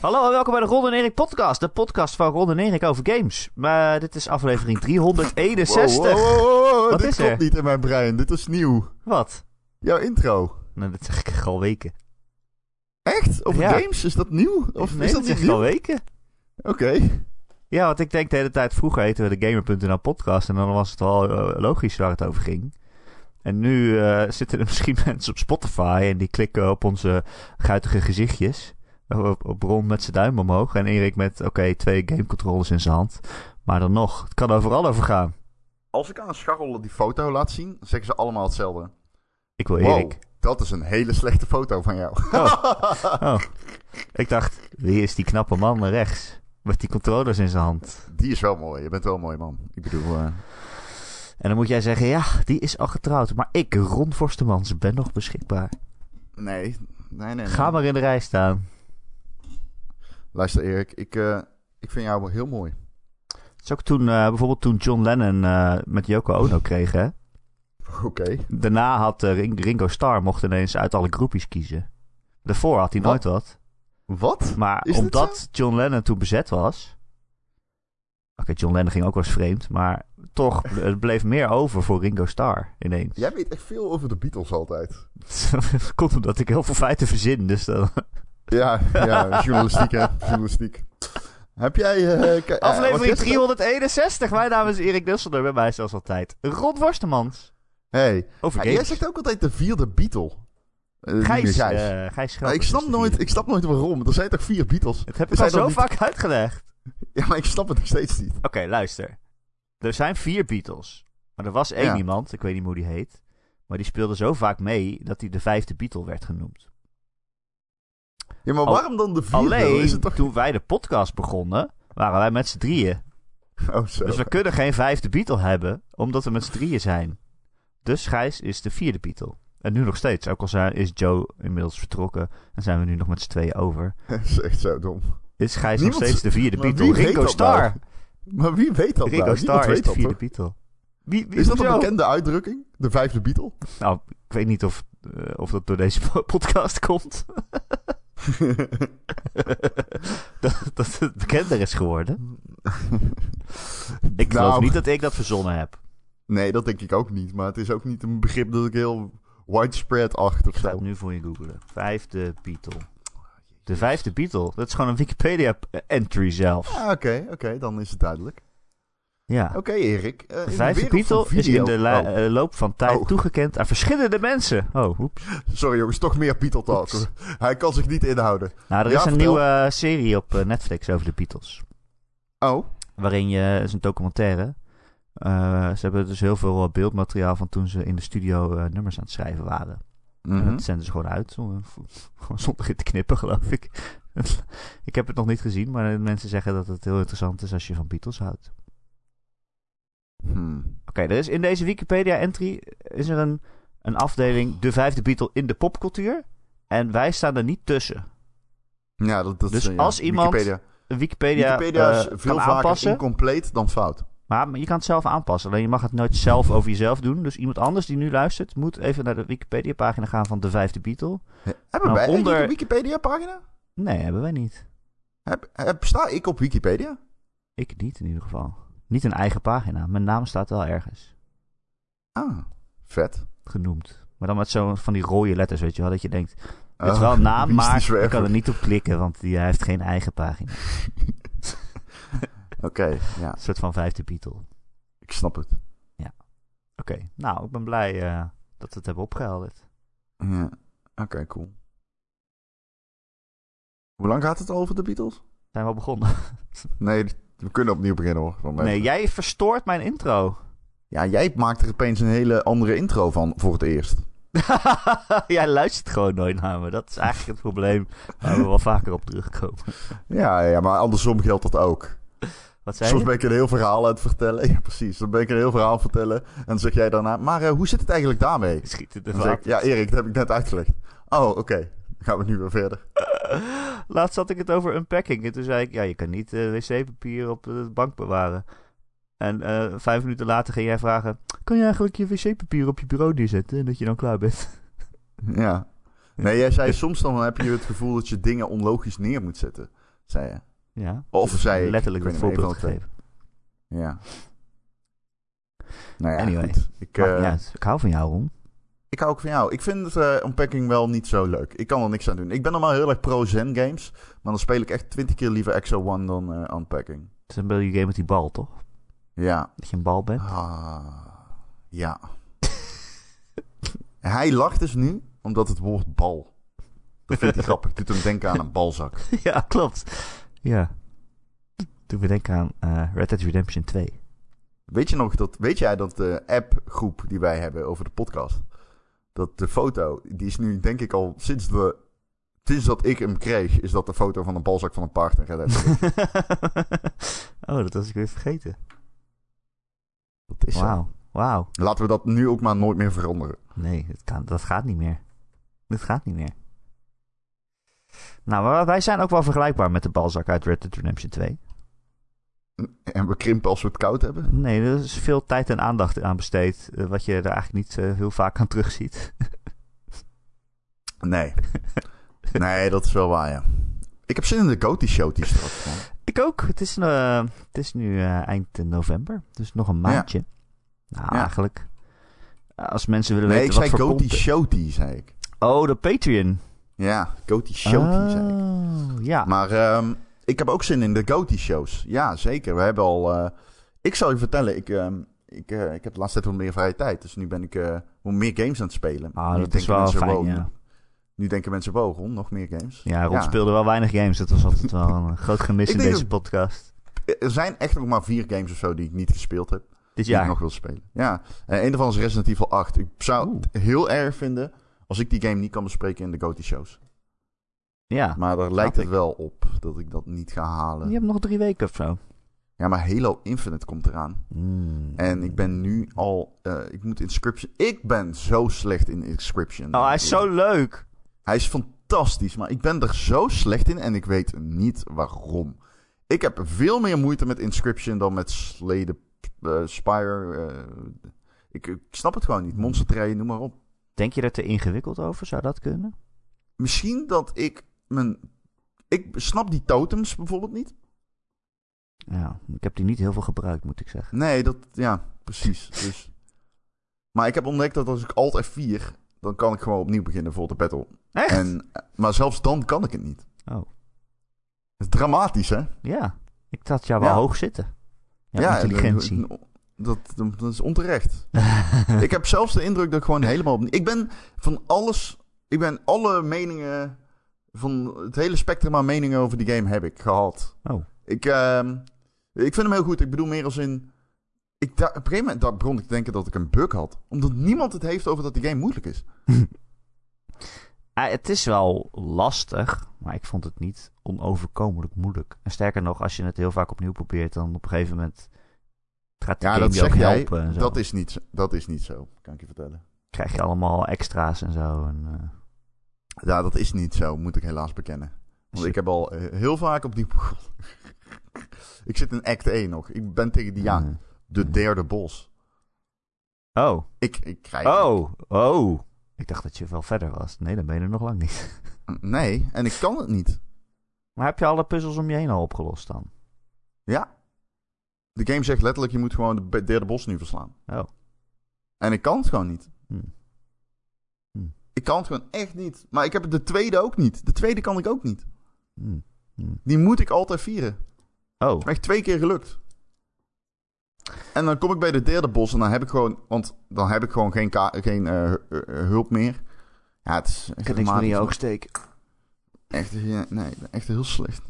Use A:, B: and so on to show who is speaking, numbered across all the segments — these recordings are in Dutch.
A: Hallo en welkom bij de Ron en Erik podcast. De podcast van Ron en Erik over games. Maar dit is aflevering 361.
B: Wow, wow, wow, wow,
A: Wat
B: Dit
A: is
B: klopt
A: er?
B: niet in mijn brein. Dit is nieuw.
A: Wat?
B: Jouw intro.
A: Nou, dat zeg ik al weken.
B: Echt? Over
A: Ja.
B: games? Is dat nieuw? Of
A: nee,
B: is dat
A: zeg
B: niet
A: ik al
B: nieuw?
A: weken.
B: Oké.
A: Ja, want ik denk de hele tijd, vroeger heten we de Gamer.nl podcast. En dan was het wel eh, logisch waar het over ging. En nu eh, zitten er misschien mensen op Spotify en die klikken op onze guitige gezichtjes. Op, op Ron met zijn duim omhoog en Erik met, oké, twee gamecontrollers in zijn hand. Maar dan nog, het kan overal over gaan.
B: Als ik aan een scharrel die foto laat zien, zeggen ze allemaal hetzelfde.
A: Ik wil
B: Wow,
A: Erik.
B: dat is een hele slechte foto van jou.
A: Oh, ik dacht, wie is die knappe man rechts? Met die controllers in zijn hand.
B: Die is wel mooi. Je bent wel een mooie man. Ik bedoel, eh,
A: En dan moet jij zeggen, ja, die is al getrouwd. Maar ik, Ron Forstemans, ben nog beschikbaar.
B: nee. Nee, nee, nee.
A: Ga maar in de rij staan.
B: Luister Erik, ik, eh, ik vind jou wel heel mooi.
A: Dat is ook toen, eh, bijvoorbeeld toen John Lennon eh, met Yoko Ono kreeg, hè.
B: Oké.
A: Daarna had eh, Ring- Ringo Starr mocht ineens uit alle groepjes kiezen. Daarvoor had hij nooit wat.
B: Wat?
A: Maar
B: Is dit
A: omdat John Lennon toen bezet was... Oké, John Lennon ging ook wel eens vreemd, maar toch, het bleef meer over voor Ringo Starr ineens.
B: Jij weet echt veel over de Beatles altijd.
A: Dat komt omdat ik heel veel feiten verzin, dus dan...
B: Ja, ja journalistiek hè. Journalistiek. Heb jij... eh, ki- eh, want
A: Aflevering
B: gisteren-
A: 361. Mijn naam is Erik Dusselder, bij mij zoals altijd Rod Worstemans.
B: Hey,
A: Over
B: Ja, jij
A: games.
B: zegt ook altijd de vierde Beatle. Eh, niet meer
A: Gijs,
B: Gijs.
A: eh, Gijs
B: Maar
A: Schrappers
B: ik,
A: is
B: snap
A: de
B: nooit,
A: vierde.
B: ik snap nooit waarom. Er zijn toch vier Beatles?
A: Het heb
B: Is
A: ik al
B: hij
A: zo
B: dan
A: vaak uitgelegd.
B: Ja, maar ik snap het nog steeds niet.
A: Oké, luister. Er zijn vier Beatles. Maar er was één
B: Ja.
A: iemand, ik weet niet hoe die heet. Maar die speelde zo vaak mee dat hij de vijfde Beatle werd genoemd.
B: Ja, maar
A: Al-
B: waarom dan de vierde? Is
A: Alleen
B: het toch...
A: toen wij de podcast begonnen, waren wij met z'n drieën.
B: Oh, zo.
A: Dus we kunnen geen vijfde Beatle hebben, omdat we met z'n drieën zijn. Dus Gijs is de vierde Beatle. En nu nog steeds, ook al zijn, is Joe inmiddels vertrokken en zijn we nu nog met z'n tweeën over.
B: Dat is echt zo dom.
A: Is Gijs
B: Niemand-
A: nog steeds de vierde
B: maar
A: Beatle?
B: wie weet
A: Ringo
B: dat
A: Starr!
B: nou? Maar wie weet dat nou?
A: Ringo
B: Niemand
A: Starr is
B: weet
A: de
B: dat,
A: vierde
B: toch?
A: Beatle. Wie, wie,
B: Is dat een
A: hoezo?
B: bekende uitdrukking? De vijfde Beatle?
A: Nou, ik weet niet of, eh, of dat door deze po- podcast komt. dat, dat het bekender is geworden. Ik geloof
B: Nou,
A: niet dat ik dat verzonnen heb.
B: Nee, dat denk ik ook niet. Maar het is ook niet een begrip dat ik heel widespread acht
A: Ik
B: of
A: ga
B: zo. Oh,
A: het nu voor je googelen. Vijfde Beatle. De vijfde Beatle. Dat is gewoon een Wikipedia-entry zelf.
B: Ah, Oké, oké, dan is het duidelijk.
A: Ja.
B: Oké, Erik. eh, in
A: De
B: de
A: Ah. vijfde
B: wereld van
A: Beatle is in
B: video-
A: de la-
B: Oh.
A: eh, loop van tijd
B: Oh.
A: toegekend aan verschillende mensen. Oh, oeps.
B: Sorry jongens, toch meer Beatle talk.
A: Oeps.
B: Hij kan zich niet inhouden.
A: Nou, er
B: Ja,
A: is een
B: vertel.
A: nieuwe eh, serie op eh, Netflix over de Beatles.
B: Oh,
A: Waarin je, het is een documentaire. Eh, ze hebben dus heel veel eh, beeldmateriaal van toen ze in de studio eh, nummers aan het schrijven waren.
B: Mhm.
A: En dat zenden ze gewoon uit. zonder- Gewoon zonder in te knippen, geloof ik. ik heb het nog niet gezien, maar eh, mensen zeggen dat het heel interessant is als je van Beatles houdt.
B: Hmm.
A: Oké, er is in deze Wikipedia-entry is er een, een afdeling de vijfde Beatle in de popcultuur. En wij staan er niet tussen.
B: Ja, dat, dat
A: Dus
B: is, eh, ja,
A: als iemand
B: Wikipedia,
A: Wikipedia,
B: Wikipedia
A: eh,
B: is veel
A: kan
B: vaker
A: aanpassen,
B: incompleet dan fout.
A: maar je kan het zelf aanpassen. Alleen je mag het nooit zelf over jezelf doen. Dus iemand anders die nu luistert, moet even naar de Wikipedia-pagina gaan van de vijfde Beatle.
B: Hebben wij
A: Nou, onder-
B: eigenlijk een Wikipedia-pagina?
A: Nee, hebben wij niet.
B: Heb, heb, sta ik op Wikipedia?
A: Ik niet in ieder geval. Niet een eigen pagina. Mijn naam staat wel ergens
B: Ah, vet.
A: genoemd. Maar dan met zo'n van die rode letters, weet je wel, dat je denkt... Het is
B: Oh,
A: wel een naam,
B: wie is die
A: maar ik
B: zwerver?
A: kan er niet op klikken, want die, hij heeft geen eigen pagina.
B: Oké, ja,
A: Een soort van vijfde Beatle.
B: ik snap het.
A: Oké, nou, ik ben blij eh, dat we het hebben opgehelderd.
B: Ja. Oké, cool. Hoe lang gaat het al over de Beatles?
A: Zijn we al begonnen?
B: Nee, we kunnen opnieuw beginnen hoor. want we
A: Nee,
B: hebben-
A: jij verstoort mijn intro.
B: Ja, jij maakt er opeens een hele andere intro van voor het eerst.
A: jij luistert gewoon nooit naar me. Dat is eigenlijk het probleem waar we wel vaker op terugkomen.
B: Ja, ja, maar andersom geldt dat ook.
A: Wat zei
B: Soms
A: je?
B: ben ik een heel verhaal aan het vertellen. Ja, precies. Dan ben ik een heel verhaal aan het vertellen. En dan zeg jij daarna, maar eh, hoe zit het eigenlijk daarmee?
A: Schiet het
B: Dan zeg ik, ja, Erik, dat heb ik net uitgelegd. Oh, oké. Dan gaan we nu weer verder.
A: Laatst had ik het over unpacking. En toen zei ik, ja, je kan niet eh, wc-papier op de bank bewaren. En eh, vijf minuten later ging jij vragen... Kan je eigenlijk je wc-papier op je bureau neerzetten? En dat je dan klaar bent.
B: Ja. Nee, jij zei soms dan heb je het gevoel dat je dingen onlogisch neer moet zetten. zei je.
A: Ja.
B: Of zei ik.
A: Letterlijk
B: Ik
A: het
B: weet niet meer, eh,
A: voorbeeld
B: een van de
A: gegeven.
B: twee. Ja. Nou ja,
A: Anyway. Ah,
B: goed. Ik,
A: Maakt
B: eh,
A: niet uit. dus Ik hou van jou, Ron.
B: ik hou ook van jou. Ik vind eh unpacking wel niet zo leuk. Ik kan er niks aan doen. Ik ben normaal heel erg pro-zen games. Maar dan speel ik echt twintig keer liever Exo One dan eh, unpacking.
A: Het is een beetje game met die bal, toch?
B: Ja.
A: Dat je een bal bent.
B: Ah, ja. Hij lacht dus nu omdat het woord bal. Dat vindt hij grappig. Doet hem denken aan een balzak.
A: ja, klopt. Ja. Toen we denken aan eh, Red Dead Redemption 2.
B: Weet je nog dat? Weet jij dat de appgroep die wij hebben over de podcast, dat de foto die is nu denk ik al sinds de sinds dat ik hem kreeg, is dat de foto van een balzak van een paard en Red Dead.
A: oh, dat was ik weer vergeten.
B: Dat is zo.
A: Wauw. Wauw.
B: Laten we dat nu ook maar nooit meer veranderen.
A: Nee, dat, kan, dat gaat niet meer. Dat gaat niet meer. Nou, maar wij zijn ook wel vergelijkbaar met de balzak uit Red Dead Redemption 2.
B: En we krimpen als we het koud hebben.
A: Nee, er is veel tijd en aandacht aan besteed. eh, Wat je er eigenlijk niet eh, heel vaak aan terugziet.
B: Nee. Nee, dat is wel waar, ja. Ik heb zin in de Goaty Show die straks. man.
A: Ik ook. Het is, eh, het is nu eh, eind eh, november. Dus nog een
B: Ja.
A: maandje. Nou,
B: Ja.
A: eigenlijk. Als mensen willen
B: Nee, ik
A: weten
B: zei
A: wat voor
B: Goaty
A: content-
B: Showty, zei ik.
A: Oh, de Patreon.
B: Ja, Goaty
A: Ah.
B: Showty, zei ik.
A: Oh, ja.
B: Maar ehm, ik heb ook zin in de Goaty Shows. Ja, zeker. We hebben al... eh, ik zal je vertellen, ik, ehm, ik, eh, ik heb de laatste tijd wat meer vrije tijd. Dus nu ben ik eh hoe meer games aan het spelen.
A: Ah,
B: nu
A: dat is
B: denken
A: wel
B: mensen,
A: fijn,
B: wow,
A: ja.
B: Nu denken mensen, wow, Ron, nog meer games.
A: Ja, Ron
B: Ja.
A: speelde wel weinig games. Dat was altijd wel een groot gemis
B: Ik
A: in
B: denk
A: deze podcast.
B: Er zijn echt nog maar vier games of zo die ik niet gespeeld heb.
A: Dit
B: die
A: jaar.
B: ik nog wil spelen. Ja, Eh, en een daarvan is Resident Evil 8. Ik zou het heel erg vinden als ik die game niet kan bespreken in de GOTY shows.
A: Ja.
B: Maar daar lijkt het
A: ik.
B: wel op dat ik dat niet ga halen.
A: Je hebt nog drie weken of zo.
B: Ja, maar Halo Infinite komt eraan.
A: Hmm.
B: En ik ben nu al... eh, ik moet Inscription... Ik ben zo slecht in Inscription.
A: Oh, hij is zo leuk.
B: Hij is fantastisch, maar ik ben er zo slecht in en ik weet niet waarom. Ik heb veel meer moeite met Inscription dan met Slay the eh, Spire. eh, ik, ik snap het gewoon niet. Monster Train, noem maar op.
A: Denk je er te ingewikkeld over? Zou dat kunnen?
B: misschien dat ik mijn. Ik snap die totems bijvoorbeeld niet.
A: Ja, ik heb die niet heel veel gebruikt, moet ik zeggen.
B: Nee, dat. Ja, precies. Dus. Maar ik heb ontdekt dat als ik Alt F4. dan kan ik gewoon opnieuw beginnen voor de battle.
A: Echt?
B: En, maar zelfs dan kan ik het niet.
A: Oh.
B: Het is dramatisch, hè?
A: Ja, ik had jou wel
B: Ja.
A: hoog zitten. Ja, intelligentie.
B: Dat, dat, dat is onterecht. ik heb zelfs de indruk dat ik gewoon helemaal opnieuw. Ik ben van alles. Ik ben alle meningen. Van het hele spectrum aan meningen over die game heb ik gehad.
A: Oh.
B: Ik, ehm, ik vind hem heel goed. Ik bedoel meer als in... Ik da- op een gegeven moment daar begon ik te denken dat ik een bug had. Omdat niemand het heeft over dat die game moeilijk is.
A: Ah, het is wel lastig, maar ik vond het niet onoverkomelijk moeilijk. En sterker nog, als je het heel vaak opnieuw probeert, dan op een gegeven moment gaat die game je ook helpen. en zo.
B: Dat is, niet, zo- dat is niet zo, kan ik je vertellen.
A: Krijg je allemaal extra's en zo. En, eh,
B: Ja, dat is niet zo, moet ik helaas bekennen. Want ik heb al eh, heel vaak op die... ik zit in act 1 nog. Ik ben tegen die, ja,
A: Mm.
B: de derde bos.
A: Oh,
B: Ik, ik krijg...
A: oh, oh. Ik dacht dat je wel verder was. Nee, dan ben je er nog lang niet.
B: Nee, en ik kan het niet.
A: Maar heb je alle puzzels om je heen al opgelost dan?
B: De game zegt letterlijk, je moet gewoon de be- derde bos nu verslaan.
A: Oh.
B: En ik kan het gewoon niet.
A: Hm. Hmm.
B: Ik kan het gewoon echt niet. Maar ik heb de tweede ook niet. De tweede kan ik ook niet.
A: Hm. Hm.
B: Die moet ik altijd vieren. Het
A: Oh,
B: is me echt twee keer gelukt. En dan kom ik bij de derde bos en dan heb ik gewoon... Want dan heb ik gewoon geen, ka- geen eh, hu- eh, hulp meer. Ja, het is
A: ik
B: echt
A: heb niks meer in je
B: dramatisch.
A: oog steken.
B: Echt, ja, nee, ik ben echt heel slecht.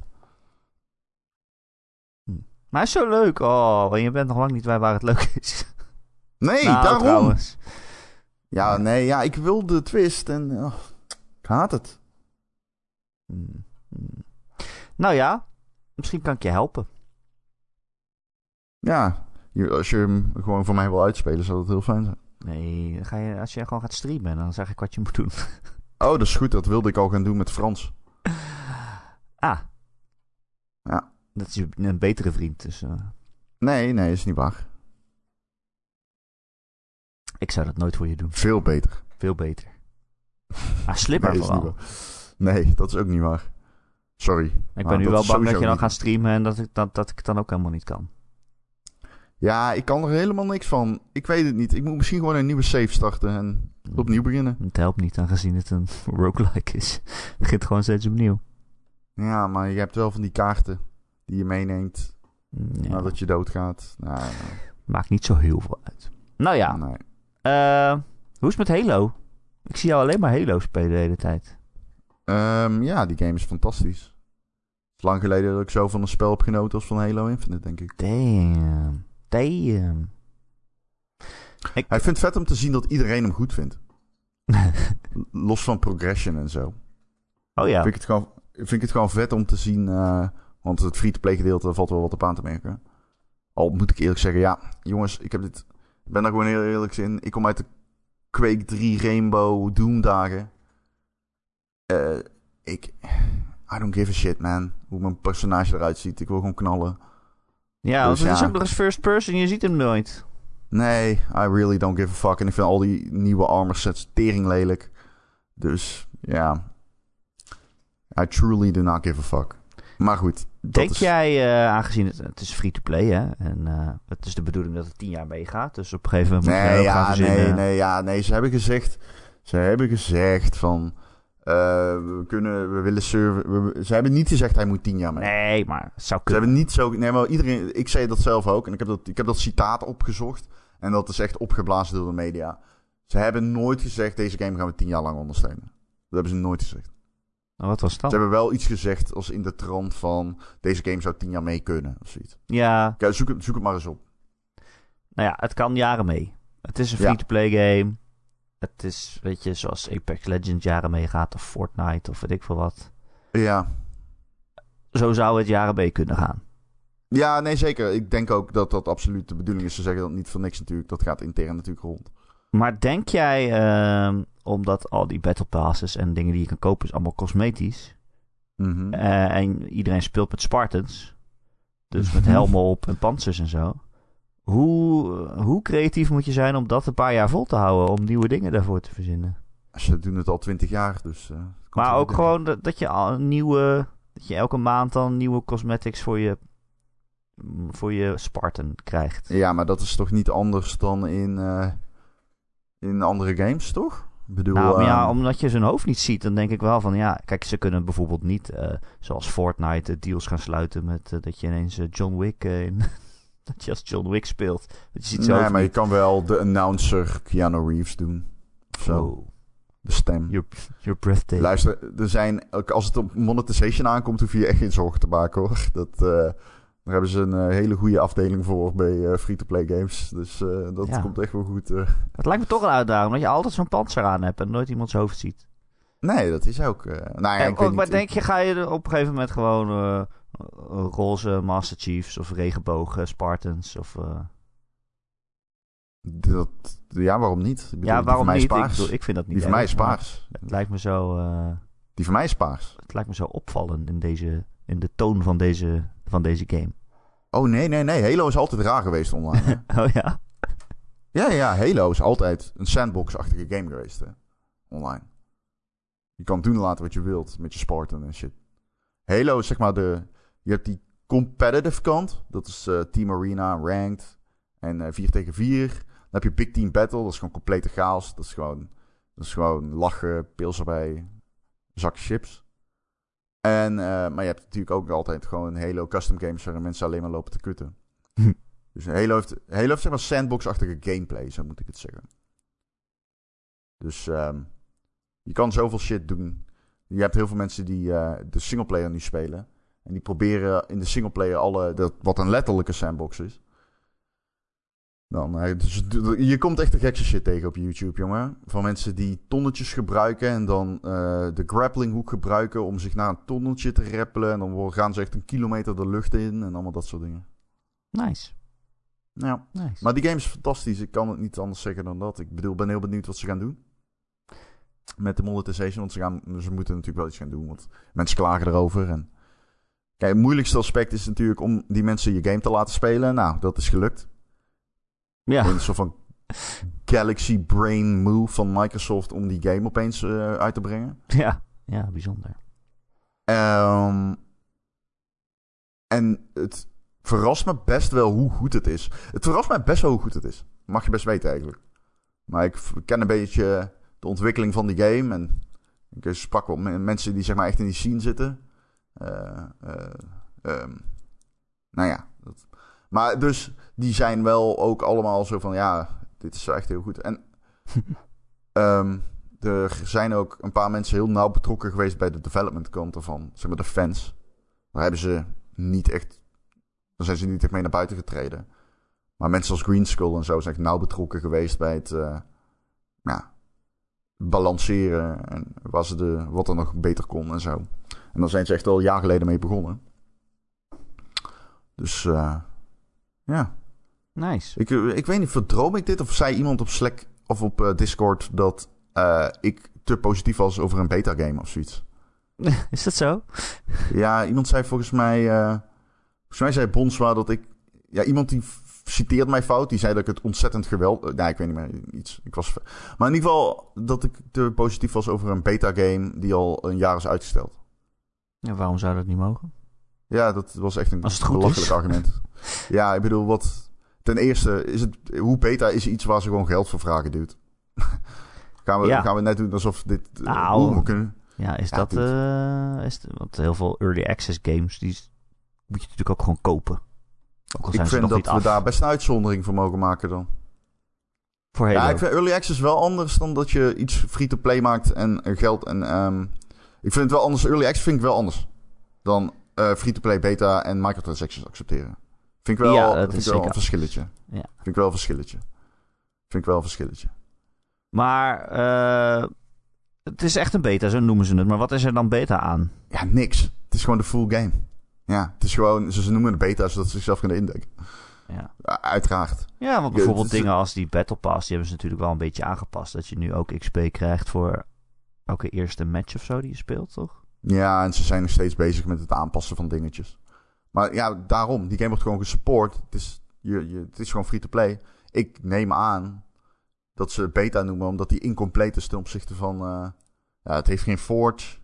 A: Maar hij is zo leuk. Oh, en je bent nog lang niet bij waar het leuk is.
B: Nee,
A: Nou,
B: daarom.
A: trouwens.
B: Ja, nee, ja, ik wil de twist en... oh, ik haat het.
A: Hmm, hmm. Nou ja, misschien kan ik je helpen.
B: Ja, je- als je hem gewoon voor mij wil uitspelen, zou dat heel fijn zijn.
A: Nee, dan ga je, als je gewoon gaat streamen, dan zeg ik wat je moet doen.
B: Oh, dat is goed. Dat wilde ik al gaan doen met Frans.
A: Ah.
B: Ja.
A: Dat is je- een betere vriend, dus eh,
B: Nee, nee, is niet waar.
A: ik zou dat nooit voor je doen.
B: Veel beter.
A: Veel beter. Ah, slimmer
B: nee, is niet
A: vooral.
B: waar. Nee, dat is ook niet waar. Sorry.
A: Ik
B: Nou,
A: ben nu
B: dat
A: wel bang dat
B: is sowieso
A: je dan
B: niet.
A: gaat streamen en dat ik, dat, dat ik het dan ook helemaal niet kan.
B: Ja, ik kan er helemaal niks van. Ik weet het niet. Ik moet misschien gewoon een nieuwe save starten en opnieuw beginnen.
A: Het helpt niet, aangezien het een roguelike is. Het begint gewoon steeds opnieuw.
B: Ja, maar je hebt wel van die kaarten die je meeneemt
A: Ja,
B: nadat je doodgaat. Nou, eh,
A: Maakt niet zo heel veel uit. Nou ja,
B: nee.
A: eh, hoe is het met Halo? Ik zie jou alleen maar Halo spelen de hele tijd.
B: Ehm, ja, die game is fantastisch. Het is lang geleden dat ik zo van een spel heb genoten als van Halo Infinite, denk ik.
A: Damn. Damn. Ik,
B: Hij vindt het vet om te zien dat iedereen hem goed vindt. Los van progression en zo.
A: oh ja.
B: Vind, ik het gewoon, vind ik het gewoon vet om te zien. eh, want het free-to-play gedeelte daar valt wel wat op aan te merken. Al moet ik eerlijk zeggen, ja, jongens, ik heb dit. Ik ben daar gewoon heel eerlijk in. Ik kom uit de Quake 3 Rainbow Doom dagen. Eh, ik. I don't give a shit, man. Hoe mijn personage eruit ziet. Ik wil gewoon knallen.
A: Ja, want
B: Dus
A: het is
B: ja.
A: ook nog eens first person, je ziet hem nooit.
B: Nee, I really don't give a fuck. En ik vind al die nieuwe armor sets tering lelijk. Dus ja. I truly do not give a fuck. Maar goed. dat
A: Denk
B: is-
A: jij, eh, aangezien het, het is free-to-play hè, en eh, het is de bedoeling dat het tien jaar meegaat, dus op een gegeven moment moet je
B: Nee,
A: ook gaan
B: ja,
A: verzinnen.
B: nee, nee, ja, nee. Ze hebben gezegd, ze hebben gezegd van, eh, we kunnen, we willen server. we- we- ze hebben niet gezegd hij moet tien jaar mee.
A: Nee, maar het zou
B: Ze
A: kunnen.
B: hebben niet zo, nee, maar iedereen, ik zei dat zelf ook en ik heb dat, ik heb dat citaat opgezocht en dat is echt opgeblazen door de media. Ze hebben nooit gezegd deze game gaan we tien jaar lang ondersteunen. Dat hebben ze nooit gezegd.
A: Nou, Wat was
B: Ze
A: dat?
B: hebben wel iets gezegd als in de trant van deze game zou tien jaar mee kunnen of zoiets.
A: Ja,
B: Ja, zoek, het, zoek het maar eens op.
A: nou ja, het kan jaren mee. Het is een
B: Ja.
A: free-to-play game. Het is, weet je, zoals Apex Legends jaren meegaat, of Fortnite, of weet ik veel wat.
B: Ja,
A: Zo zou het jaren mee kunnen gaan.
B: Ja, nee, zeker. Ik denk ook dat dat absoluut de bedoeling is. Ze zeggen dat niet voor niks natuurlijk. Dat gaat intern natuurlijk rond.
A: Maar denk jij, ehm, omdat al die battle passes en dingen die je kan kopen, is allemaal cosmetisch. Eh, en iedereen speelt met Spartans. Dus met helmen op en pantsers en zo. Hoe, hoe creatief moet je zijn om dat een paar jaar vol te houden? Om nieuwe dingen daarvoor te verzinnen.
B: Ze doen het al twintig jaar, dus... eh, het komt
A: Maar
B: wel
A: ook
B: goed.
A: gewoon dat, dat je al een nieuwe. Dat je elke maand dan nieuwe cosmetics voor je. mm, Voor je Spartan krijgt.
B: Ja, maar dat is toch niet anders dan in, eh, in andere games, toch? Ik bedoel...
A: nou, maar ja,
B: eh,
A: omdat je zijn hoofd niet ziet, dan denk ik wel van ja. Kijk, ze kunnen bijvoorbeeld niet, eh, zoals Fortnite, eh, deals gaan sluiten met eh, dat je ineens eh, John Wick eh, in. dat je als John Wick speelt. Dat je ziet zijn
B: Nee,
A: hoofd
B: maar je
A: niet.
B: kan wel de announcer Keanu Reeves doen. Of zo,
A: Oh,
B: de stem.
A: your, your breathtaking.
B: Luister, er zijn, ook als het op monetization aankomt, hoef je je echt geen zorgen te maken hoor. Dat, eh, daar hebben ze een eh, hele goede afdeling voor bij eh, free-to-play games. Dus eh, dat
A: Ja.
B: komt echt wel goed. eh.
A: Het lijkt me toch een uitdaging, dat je altijd zo'n panzer aan hebt en nooit iemands hoofd ziet.
B: Nee, dat is ook. eh nou ja,
A: En-
B: ik weet
A: maar
B: niet,
A: denk je, ga je er op een gegeven moment gewoon eh, eh, roze Master Chiefs of regenbogen Spartans of... eh,
B: ik- dat, ja, waarom niet? Ik bedoel,
A: ja, waarom
B: die
A: niet? Ik,
B: van mij is paars.
A: bedoel, ik vind dat niet
B: die van mij is
A: erg, maar
B: paars.
A: Het lijkt, me zo, eh,
B: Die van mij is paars.
A: het lijkt me zo opvallend in, deze, in de toon van deze, van deze game.
B: Oh nee, nee, nee. Halo is altijd raar geweest online. hè?
A: oh ja?
B: ja, ja, Halo is altijd een sandbox-achtige game geweest. Hè? Online. Je kan doen en laten wat je wilt met je Spartan en shit. Halo is zeg maar de. Je hebt die competitive kant. Dat is eh, Team Arena, ranked. En eh 4 tegen 4. Dan heb je Big Team Battle. Dat is gewoon complete chaos. Dat is gewoon, dat is gewoon lachen, pils erbij, zak chips. En, eh, maar je hebt natuurlijk ook altijd gewoon Halo custom games waarin mensen alleen maar lopen te kutten.
A: Hm.
B: Dus Halo heeft, Halo heeft zeg maar sandbox-achtige gameplay, zo moet ik het zeggen. Dus ehm, je kan zoveel shit doen. Je hebt heel veel mensen die eh, de singleplayer nu spelen. En die proberen in de singleplayer alle, dat, wat een letterlijke sandbox is. Dan, eh, dus d- je komt echt de gekste shit tegen op YouTube, jongen. Van mensen die tonnetjes gebruiken en dan eh, de grappling hook gebruiken om zich naar een tonnetje te rappelen. En dan wo- gaan ze echt een kilometer de lucht in en allemaal dat soort dingen. Nou
A: Nice,
B: Ja.
A: nice.
B: Maar die game is fantastisch. Ik kan het niet anders zeggen dan dat. Ik bedoel, ik ben heel benieuwd wat ze gaan doen. Met de monetization. Want ze, gaan, ze moeten natuurlijk wel iets gaan doen. Want mensen klagen erover. En... Kijk, het moeilijkste aspect is natuurlijk om die mensen je game te laten spelen. Nou, dat is gelukt.
A: ja,
B: Een soort van galaxy brain move van Microsoft om die game opeens eh, uit te brengen.
A: ja, ja, bijzonder.
B: Ehm, en het verrast me best wel hoe goed het is. Het verrast me best wel hoe goed het is. Mag je best weten eigenlijk. Maar ik v- ken een beetje de ontwikkeling van die game. En ik sprak wel met mensen die zeg maar echt in die scene zitten. Eh, eh, ehm, nou ja. Dat. Maar dus die zijn wel ook allemaal zo van ja, dit is echt heel goed. En ehm, er zijn ook een paar mensen heel nauw betrokken geweest bij de development kant ervan. Zeg maar de fans. Daar hebben ze niet echt. Daar zijn ze niet echt mee naar buiten getreden. Maar mensen als Green Skull en zo zijn echt nauw betrokken geweest bij het. eh, ja, balanceren en waar ze de, wat er nog beter kon en zo. En daar zijn ze echt al een jaar geleden mee begonnen. Dus eh, ja.
A: Nice.
B: Ik, eh, ik weet niet, verdroom ik dit? Of zei iemand op Slack of op eh, Discord dat eh, ik te positief was over een beta-game of zoiets?
A: Is dat zo?
B: Ja, iemand zei volgens mij... eh, volgens mij zei Bonswa dat ik... Ja, iemand die f- citeert mij fout. Die zei dat ik het ontzettend geweld... eh, nou, ik weet niet meer iets. Ik was, maar in ieder geval dat ik te positief was over een beta-game die al een jaar is uitgesteld.
A: Ja, waarom zou dat niet mogen?
B: Ja, dat was echt een
A: Als het goed
B: belachelijk
A: is.
B: argument. ja, ik bedoel, wat... Ten eerste, is het, hoe beta is iets waar ze gewoon geld voor vragen, dude. gaan, we,
A: Ja.
B: gaan we net doen alsof dit... eh,
A: Nou.
B: hoe we kunnen...
A: Ja, is
B: Ja,
A: dat...
B: goed.
A: eh, is, want heel veel early access games, die moet je natuurlijk ook gewoon kopen. Ook al zijn ze
B: Ik vind
A: nog
B: dat
A: niet
B: we
A: af.
B: daar best een uitzondering voor mogen maken dan.
A: Voor Halo.
B: Ja, ik vind early access wel anders dan dat je iets free-to-play maakt en eh, geld en... ehm, ik vind het wel anders. Early access vind ik wel anders dan eh, free-to-play beta en microtransactions accepteren. Vind ik wel,
A: Ja, dat
B: vind
A: is
B: ik wel een
A: zeker.
B: verschilletje.
A: Ja.
B: Vind ik wel een verschilletje. Vind ik wel een verschilletje.
A: Maar eh, het is echt een beta, zo noemen ze het. Maar wat is er dan beta aan?
B: Ja, niks. Het is gewoon de full game. Ja, het is gewoon... Ze ze noemen het beta zodat ze zichzelf kunnen indekken.
A: Ja,
B: Uh, Uiteraard.
A: ja want
B: het
A: bijvoorbeeld
B: is-
A: dingen als die Battle Pass, die hebben ze natuurlijk wel een beetje aangepast. Dat je nu ook XP krijgt voor elke eerste match of zo die je speelt, toch?
B: Ja, en ze zijn nog steeds bezig met het aanpassen van dingetjes. Maar ja, daarom. Die game wordt gewoon gesupport. Het is, je, je, het is gewoon free-to-play. Ik neem aan dat ze het beta noemen, omdat die incompleet is ten opzichte van... eh, ja, het heeft geen forge,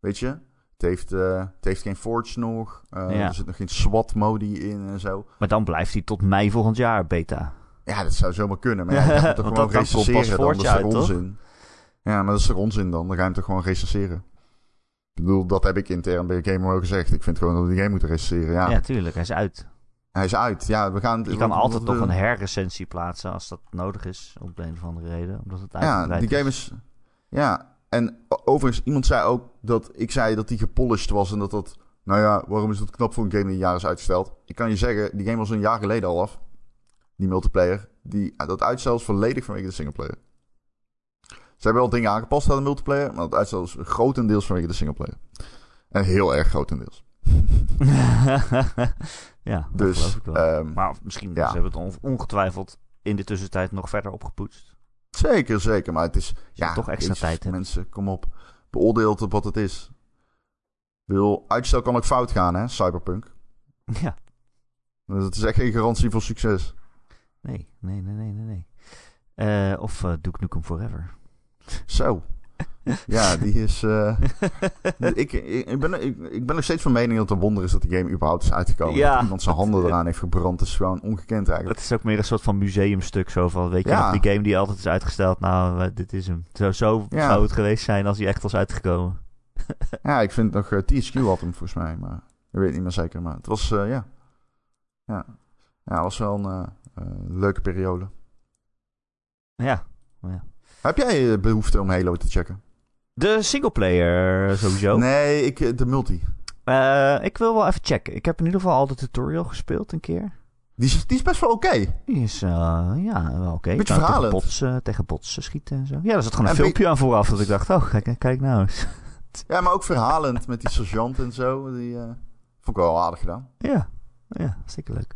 B: weet je? Het heeft, eh, het heeft geen forge nog. Eh,
A: Ja.
B: Er zit nog geen SWAT-modi in en zo.
A: Maar dan blijft die tot mei volgend jaar beta.
B: Ja, dat zou zomaar kunnen. Maar ja, dan ga je hem toch
A: Want
B: gewoon
A: dat- dat komt pas
B: recenseren dan. Dat
A: voort
B: is
A: je
B: er
A: uit, toch?
B: onzin. Ja, maar dat is er onzin dan. Dan ga je hem toch gewoon recenseren. Ik bedoel, dat heb ik intern bij Gamer ook gezegd. Ik vind gewoon dat we die game moeten recenseren. Ja,
A: Ja. tuurlijk, hij is uit.
B: hij is uit. Ja, we gaan...
A: Je kan
B: wat-
A: altijd
B: wat eh,
A: nog
B: we-
A: een herrecensie plaatsen als dat nodig is, om de een of andere reden. Omdat het
B: Ja,
A: uitgebreid
B: die game
A: is.
B: is... Ja, en o- overigens, iemand zei ook dat... Ik zei dat die gepolished was en dat dat... Nou ja, waarom is dat knap voor een game die een jaar is uitgesteld? Ik kan je zeggen, die game was een jaar geleden al af. Die multiplayer. Die, eh, dat uitstel is volledig vanwege de singleplayer. Ze hebben wel dingen aangepast aan de multiplayer, maar dat uitstel is grotendeels vanwege de singleplayer. En heel erg grotendeels.
A: ja, dat geloof
B: Dus,
A: ik wel.
B: ehm,
A: maar misschien
B: ja.
A: ze hebben het on- ongetwijfeld in de tussentijd nog verder opgepoetst.
B: zeker, zeker. Maar het is,
A: Ja, toch extra
B: jezus,
A: tijd in.
B: Mensen, kom op. Beoordeel het op wat het is. Ik bedoel, uitstel kan ook fout gaan, hè, Cyberpunk.
A: Ja,
B: Dus het is echt geen garantie voor succes.
A: nee, nee, nee, nee, nee. nee. Eh, of eh Duke Nukem Forever.
B: Zo. Ja, die is... eh, ik, ik, ik ben, ik, ik ben nog steeds van mening dat het een wonder is dat die game überhaupt is uitgekomen.
A: Ja.
B: Dat iemand zijn handen eraan heeft gebrand is gewoon ongekend eigenlijk.
A: Dat is ook meer een soort van museumstuk zo van, weet je
B: Ja.
A: nog, die game die altijd is uitgesteld, nou, eh, dit is hem. Zo, zo
B: Ja.
A: zou het geweest zijn als hij echt was uitgekomen.
B: Ja, ik vind nog... eh, THQ had hem volgens mij, maar... Ik weet het niet meer zeker, maar het was... eh, ja. Ja. Ja, het was wel een eh, eh, leuke periode.
A: Ja,
B: Heb jij eh, behoefte om Halo te checken?
A: de singleplayer sowieso.
B: Nee, ik, eh, de multi.
A: Eh, ik wil wel even checken. Ik heb in ieder geval al de tutorial gespeeld een keer.
B: Die is, die is best wel oké.
A: Die is, eh, ja, wel oké.
B: Beetje
A: Kan tegen
B: verhalend.
A: bots, eh, tegen bots schieten en zo. Ja, er zat gewoon een
B: En
A: filmpje aan vooraf dat ik dacht, oh, kijk, kijk nou eens.
B: Ja, maar ook verhalend met die sergeant en zo. Die eh, vond ik wel aardig gedaan.
A: Ja, ja, zeker leuk.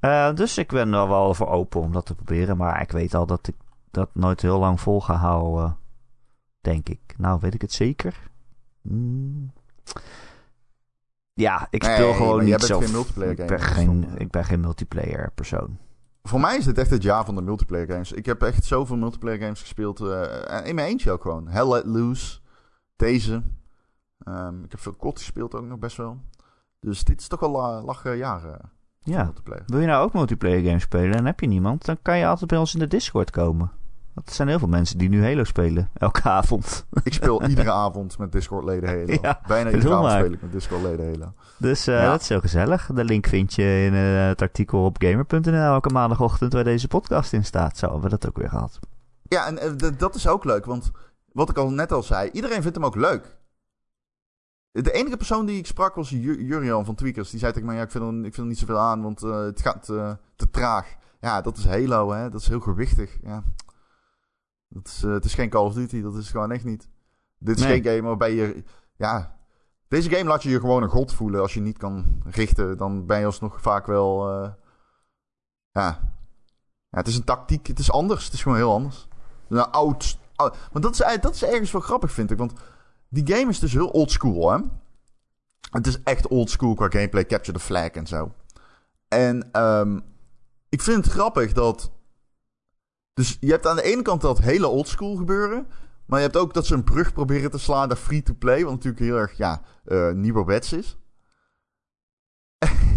A: Eh, dus ik ben er wel voor open om dat te proberen. Maar ik weet al dat ik dat nooit heel lang vol ga houden. eh, Denk ik. Nou, weet ik het zeker? Hmm. Ja, ik speel
B: Nee,
A: gewoon
B: maar
A: niet
B: jij bent
A: zelf.
B: geen multiplayer
A: ik,
B: gamer,
A: ben
B: dus
A: geen,
B: dan, eh.
A: ik ben geen multiplayer persoon.
B: Voor mij is dit echt het jaar van de multiplayer games. Ik heb echt zoveel eh, multiplayer games gespeeld. eh, in mijn eentje ook gewoon. Hell Let Loose. Deze. Ehm, ik heb veel kot gespeeld ook nog best wel. Dus dit is toch wel la- lachen jaren
A: Ja.
B: multiplayer.
A: Wil je nou ook multiplayer games spelen en heb je niemand, dan kan je altijd bij ons in de Discord komen. Want er zijn heel veel mensen die nu Halo spelen, elke avond.
B: Ik speel iedere avond met Discord leden Halo.
A: Ja,
B: Bijna iedere
A: doe
B: avond
A: maar.
B: speel ik met Discord leden Halo.
A: Dus eh,
B: Ja.
A: dat is heel gezellig. De link vind je in eh, het artikel op gamer.nl elke maandagochtend waar deze podcast in staat. Zo hebben we dat ook weer gehad.
B: Ja, en eh, d- dat is ook leuk, want wat ik al net al zei, iedereen vindt hem ook leuk. De enige persoon die ik sprak was Ju- Jurian van Tweakers. Die zei tegen mij, ja, ik vind er, ik vind er niet zoveel aan, want eh, het gaat eh, te traag. Ja, dat is Halo, hè. Dat is heel gewichtig, ja. Dat is, eh, het is geen Call of Duty, dat is gewoon echt niet. Dit is
A: Nee.
B: geen game waarbij je... Ja, deze game laat je je gewoon een god voelen. Als je niet kan richten, dan ben je alsnog vaak wel... eh, ja. ja, het is een tactiek. Het is anders. Het is gewoon heel anders. Een oud... oud maar dat is, eigenlijk- dat is ergens wel grappig, vind ik. Want die game is dus heel oldschool, hè. Het is echt oldschool qua gameplay, capture the flag en zo. En ehm, ik vind het grappig dat... Dus je hebt aan de ene kant dat hele oldschool gebeuren... Maar je hebt ook dat ze een brug proberen te slaan naar free-to-play... wat natuurlijk heel erg, ja, eh nieuwerwets is.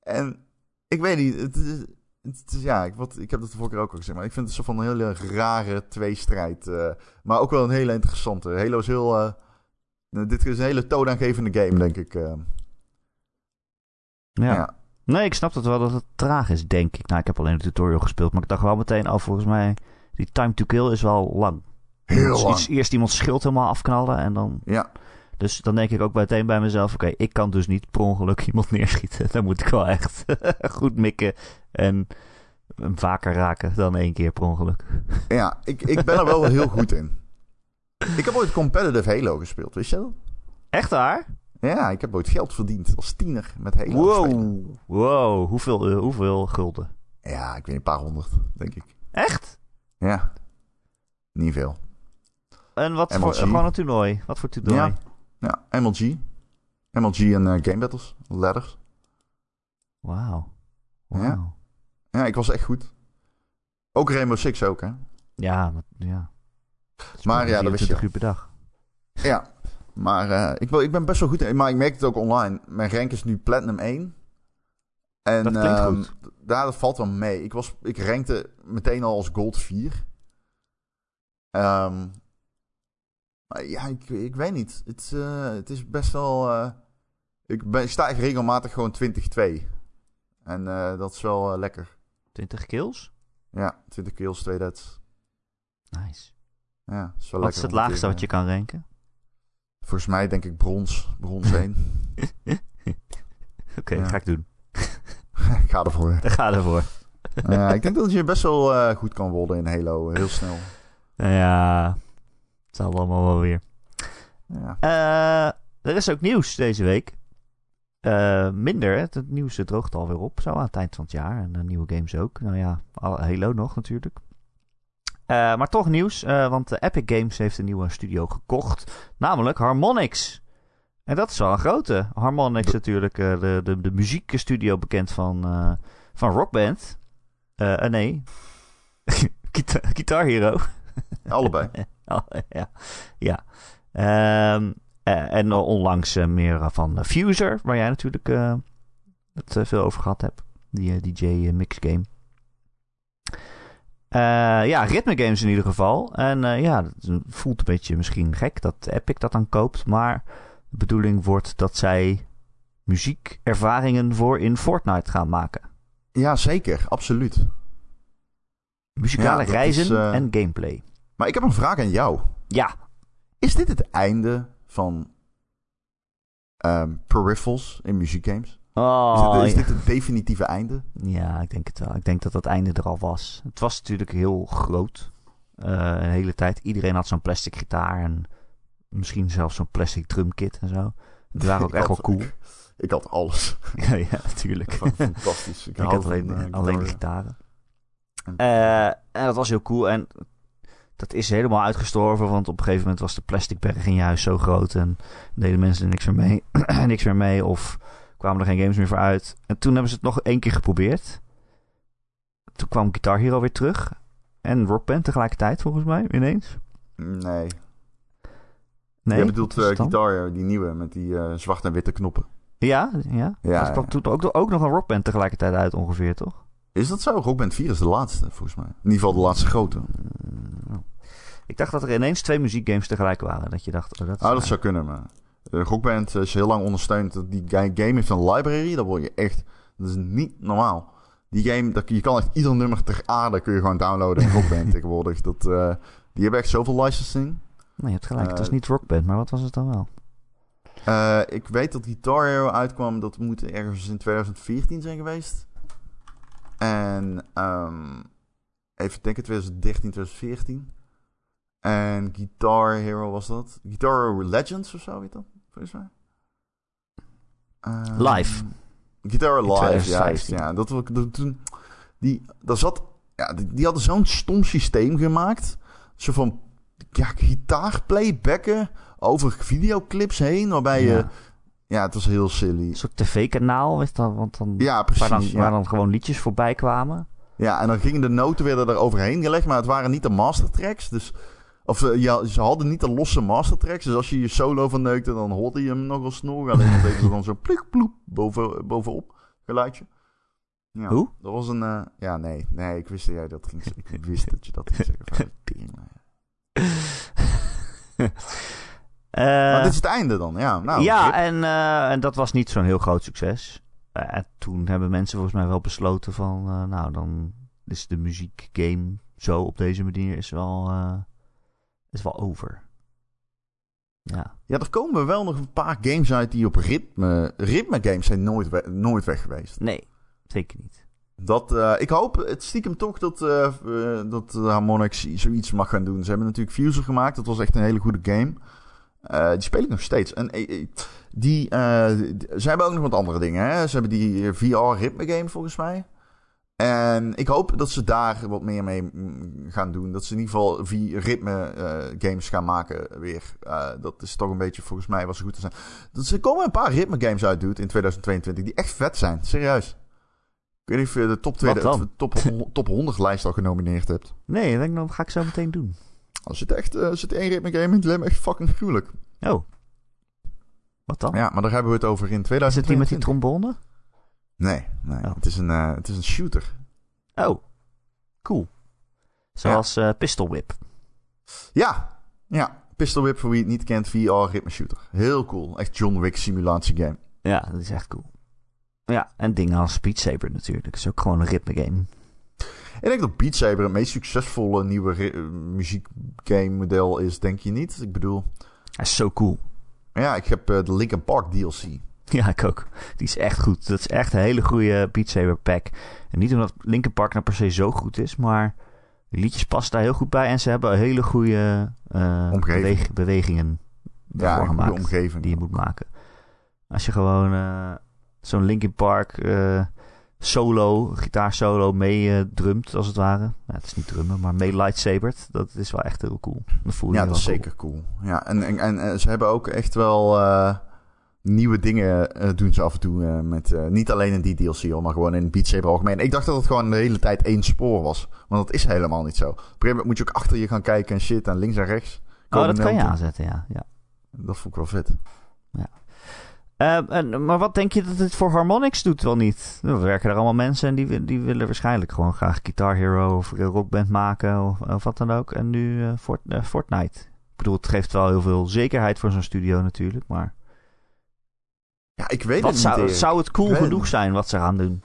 B: en ik weet niet, het is... Het is- ja, ik, wat, ik heb dat de vorige keer ook al gezegd, maar ik vind het zo van een hele rare tweestrijd. eh, maar ook wel een hele interessante. Halo is heel... eh, nou, dit is een hele toonaangevende game, denk ik. eh.
A: Ja.
B: Ja.
A: Nee, ik snap dat wel dat het traag is, denk ik. Nou, ik heb alleen de tutorial gespeeld, maar ik dacht wel meteen al, volgens mij, die time to kill is wel lang.
B: Heel
A: Je moet
B: lang.
A: Iets, eerst iemand schild helemaal afknallen en dan...
B: Ja.
A: Dus dan denk ik ook meteen bij mezelf, oké, ik kan dus niet per ongeluk iemand neerschieten. Dan moet ik wel echt goed mikken en hem vaker raken dan één keer per ongeluk.
B: Ja, ik, ik ben er wel heel goed in. Ik heb ooit competitive Halo gespeeld, wist je dat?
A: Echt waar?
B: Ja, ik heb ooit geld verdiend als tiener met Halo. spelen.
A: Wow, hoeveel, eh, hoeveel gulden?
B: Ja, ik weet een paar honderd, denk ik.
A: Echt?
B: Ja. Niet veel.
A: En wat
B: MLG.
A: voor, eh, gewoon een toernooi? Wat voor toernooi?
B: Ja. Ja, MLG. MLG en eh, Game Battles. Ladders.
A: Wauw.
B: Ja.
A: Wauw. Ja.
B: Ja, ik was echt goed. Ook Rainbow Six ook, hè?
A: Ja, maar, ja. Het is
B: Maar ja, dat wist je
A: 24 uur per dag.
B: Ja. Maar eh, ik, ben- ik ben best wel goed in. Maar ik merk het ook online. Mijn rank is nu Platinum 1. En,
A: Dat klinkt
B: ehm,
A: goed.
B: d- Daar, dat valt wel mee. Ik, was, ik rankte meteen al als Gold 4. Ehm, maar ja, ik, ik weet niet. Het, eh, het is best wel... eh, ik, ben, ik sta echt regelmatig gewoon 20-2. En eh, dat is wel eh, lekker.
A: 20 kills?
B: Ja, 20 kills, 2 deads.
A: Nice.
B: Ja, dat is wel
A: Wat is
B: lekker.
A: het
B: om een
A: laagste
B: keer,
A: wat je kan ranken?
B: eh, Volgens mij denk ik brons. Brons 1.
A: Oké,
B: Ja.
A: ga ik doen.
B: ik ga ervoor.
A: Daar ga ervoor.
B: Ja, ik denk dat je best wel eh, goed kan worden in Halo, eh, heel snel.
A: Nou ja, het zal allemaal wel weer.
B: Ja.
A: Eh, er is ook nieuws deze week. Eh, minder, hè? het nieuws eh, droogt alweer op. Zo aan het eind van het jaar. En eh, nieuwe games ook. Nou ja, al- Halo nog natuurlijk. Eh, maar toch nieuws, eh, want eh, Epic Games heeft een nieuwe studio gekocht. Namelijk Harmonix. En dat is wel een grote. Harmonix natuurlijk, eh, de, de, de muziekstudio bekend van, eh, van Rock Band. Eh, eh, nee, Guitar, Guitar Hero.
B: Allebei.
A: Oh, ja. ja. Ehm, eh, en onlangs eh, meer eh, van eh, Fuser, waar jij natuurlijk eh, het eh, veel over gehad hebt. Die eh, DJ eh, Mix Game. Eh, ja, ritme games in ieder geval. En eh, ja, het voelt een beetje misschien gek dat Epic dat dan koopt. Maar de bedoeling wordt dat zij muziekervaringen voor in Fortnite gaan maken.
B: Ja, zeker. Absoluut.
A: Muzikale
B: Ja, dat
A: reizen
B: is, eh,
A: en gameplay.
B: Maar ik heb een vraag aan jou.
A: Ja,
B: Is dit het einde van ehm peripherals in muziekgames? Is,
A: oh,
B: dit,
A: ja.
B: is dit het definitieve einde?
A: Ja, ik denk het wel. Ik denk dat dat einde er al was. Het was natuurlijk heel groot. Eh, een hele tijd. Iedereen had zo'n plastic gitaar en misschien zelfs zo'n plastic drumkit en zo. Die waren ook
B: Ik
A: echt wel
B: had-
A: cool.
B: Ik, ik had alles.
A: ja, ja, natuurlijk.
B: Fantastisch. Ik,
A: Ik
B: hou
A: had alleen,
B: van, eh,
A: alleen de
B: gitaren.
A: gitaren.
B: En-
A: Eh, en dat was heel cool. En dat is helemaal uitgestorven. Want op een gegeven moment was de plastic berg in je huis zo groot. En deden mensen er niks meer mee. niks meer mee of kwamen er geen games meer voor uit. En toen hebben ze het nog één keer geprobeerd. Toen kwam Guitar Hero weer terug. En Rock Band tegelijkertijd volgens mij ineens.
B: Nee.
A: Nee,
B: Jij bedoelt
A: wat is
B: eh
A: het dan?
B: gitaar, die nieuwe, met die eh, zwart en witte knoppen.
A: Ja, ja.
B: Ja,
A: dat kwam
B: ja.
A: toen ook, ook nog een rockband tegelijkertijd uit ongeveer, toch?
B: Is dat zo? Rockband 4 is de laatste, volgens mij. In ieder geval de laatste grote.
A: Mm, oh. Ik dacht dat er ineens twee muziekgames tegelijk waren. Dat je dacht, oh, dat is
B: Ah, dat zou kunnen, maar... eh, Rockband is heel lang ondersteund. Die ga- game heeft een library, dat word je echt... Dat is niet normaal. Die game, dat, je kan echt ieder nummer ter aarde kun je gewoon downloaden in Rockband tegenwoordig. Dat, eh, die hebben echt zoveel licensing.
A: Nee, je hebt gelijk. het was
B: Eh,
A: niet rockband, maar wat was het dan wel?
B: Eh, ik weet dat Guitar Hero uitkwam. Dat moet ergens in 2014 zijn geweest. En ehm, even denken, 2013, 2014. En Guitar Hero was dat. Guitar Hero Legends of zo, weet dat? Volgens mij. Ehm,
A: Live.
B: Guitar Hero
A: In
B: Live,
A: 2015.
B: juist. Ja, dat, wil ik- dat, toen, die, daar zat, ja, die, die hadden zo'n stom systeem gemaakt. Zo van ja, gitaarplaybacken over videoclips heen, waarbij je...
A: Ja.
B: Ja, het was heel silly.
A: Een soort tv-kanaal, weet je wel, Want dan, waar, dan,
B: Ja, precies.
A: waar
B: Ja.
A: dan gewoon liedjes voorbij kwamen.
B: ja, en dan gingen de noten weer er overheen gelegd, maar het waren niet de mastertracks. Dus, of eh, ja, ze hadden niet de losse mastertracks. Dus als je je solo verneukte, dan hoorde je hem nogal snoren. Alleen dan deden ze dan zo plik ploep boven, bovenop geluidje. Ja,
A: Hoe?
B: Dat was een... eh, ja, nee. Nee, ik wist dat jij dat ging zeggen. Ik wist dat je dat ging zeggen. Fuck, tering, man.
A: Eh,
B: maar dit is het einde dan, ja. Nou,
A: ja,
B: rip.
A: en, eh, en dat was niet zo'n heel groot succes. Eh, en toen hebben mensen volgens mij wel besloten van... eh, nou, dan is de muziekgame zo op deze manier is wel, eh, is wel over. Ja.
B: ja, er komen wel nog een paar games uit die op ritme... Ritme games zijn nooit, we- nooit weg geweest.
A: Nee, zeker niet.
B: Dat, eh, ik hoop het stiekem toch dat, eh eh, dat Harmonix zoiets mag gaan doen. Ze hebben natuurlijk Fuser gemaakt. Dat was echt een hele goede game. Eh, die speel ik nog steeds. En eh, eh, die, eh, d- ze hebben ook nog wat andere dingen. Hè? Ze hebben die eh, VR-ritme game volgens mij. En ik hoop dat ze daar wat meer mee mm, gaan doen. Dat ze in ieder geval ritme eh, games gaan maken weer. Eh, dat is toch een beetje volgens mij wat ze goed te zijn. Dus er komen een paar ritme games uit, dude, in 2022 die echt vet zijn. Serieus. Ik weet niet of je de top, tweede,
A: Wat dan?
B: top, top 100 lijst al genomineerd hebt.
A: Nee, dat denk ik, dat ga ik zo meteen doen.
B: Als zit echt eh, zit één ritme game in, die lijkt me echt fucking gruwelijk.
A: Oh. Wat dan?
B: Ja, maar daar hebben we het over in 2022.
A: is het die met die trombone?
B: Nee, nee.
A: Oh.
B: Het, is een, eh, het is een shooter.
A: Oh. Cool. Zoals eh Pistol Whip.
B: Ja, ja. Pistol Whip, voor wie het niet kent, VR ritme shooter. Heel cool. Echt John Wick simulatie game.
A: Ja, dat is echt cool. Ja, en dingen als Beat Saber natuurlijk. Dat is ook gewoon een ritme game.
B: Ik denk dat Beat Saber het meest succesvolle nieuwe ri- eh, muziekgame model is, denk je niet? Ik bedoel,
A: Hij is zo cool.
B: ja, ik heb eh, de Linkin Park DLC.
A: Ja, ik ook. Die is echt goed. Dat is echt een hele goede Beat Saber pack. En niet omdat Linkin Park nou per se zo goed is, maar de liedjes passen daar heel goed bij. En ze hebben hele goede eh,
B: Omgeving.
A: beweeg- bewegingen
B: Ja,
A: ervoor
B: een goede
A: gemaakt.
B: omgeving.
A: die je moet maken. Als je gewoon eh, zo'n Linkin Park eh, solo, gitaarsolo meedrumt als het ware. Nou, het is niet drummen, maar mee lightsabert. Dat is wel echt heel cool. Dat voel je
B: Ja,
A: wel
B: dat is
A: cool.
B: zeker cool. Ja, en, en, en eh, ze hebben ook echt wel eh, nieuwe dingen eh, doen ze af en toe. eh, met, eh, niet alleen in die DLC, hoor, maar gewoon in Beat Saber algemeen. Ik dacht dat het gewoon de hele tijd één spoor was. Want dat is helemaal niet zo. Op een gegeven moment moet je ook achter je gaan kijken en shit. En links en rechts.
A: Oh,
B: komen
A: dat kan je
B: noten.
A: aanzetten, ja. ja.
B: Dat vond ik wel vet.
A: Eh, en, maar wat denk je dat dit voor Harmonix doet wel niet? Er werken er allemaal mensen en die, wi- die willen waarschijnlijk gewoon graag Guitar Hero of Rockband maken of, of wat dan ook. En nu eh, Fort- eh, Fortnite. Ik bedoel, het geeft wel heel veel zekerheid voor zo'n studio natuurlijk, maar...
B: Ja, ik weet
A: Wat
B: het
A: zou,
B: niet. Erik.
A: zou het cool
B: Ik weet het
A: genoeg
B: niet.
A: zijn wat ze gaan doen?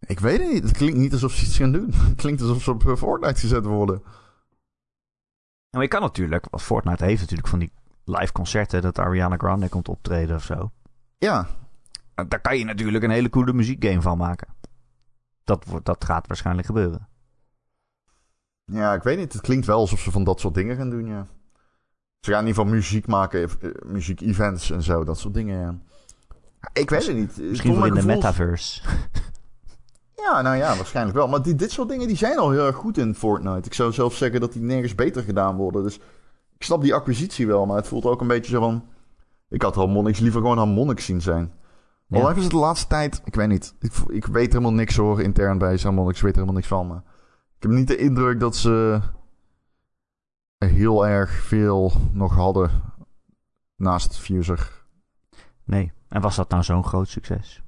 B: Ik weet het niet. Het klinkt niet alsof ze iets gaan doen. Het klinkt alsof ze op eh, Fortnite gezet worden.
A: Maar je kan natuurlijk, wat Fortnite heeft natuurlijk van die live concerten dat Ariana Grande komt optreden of zo.
B: Ja,
A: En Daar kan je natuurlijk een hele coole muziekgame van maken. Dat, wordt- dat gaat waarschijnlijk gebeuren.
B: Ja, ik weet niet. Het klinkt wel alsof ze van dat soort dingen gaan doen, ja. Ze gaan in ieder geval muziek maken, eh, muziek-events en zo, dat soort dingen, ja. Ik weet het niet. Eh,
A: Misschien
B: Voor
A: voor in
B: mijn
A: de
B: gevoel-
A: metaverse.
B: Ja, nou ja, waarschijnlijk wel. Maar die, dit soort dingen die zijn al heel erg goed in Fortnite. Ik zou zelf zeggen dat die nergens beter gedaan worden. Dus ik snap die acquisitie wel, maar het voelt ook een beetje zo van... Ik had Harmonix liever gewoon Harmonix zien zijn.
A: Ja.
B: Al hebben ze de laatste tijd... Ik weet niet. Ik, ik weet helemaal niks hoor, intern bij Harmonix. Ik weet er helemaal niks van. Maar ik heb niet de indruk dat ze heel erg veel nog hadden Naast Fuser.
A: Nee. En was dat nou zo'n groot succes?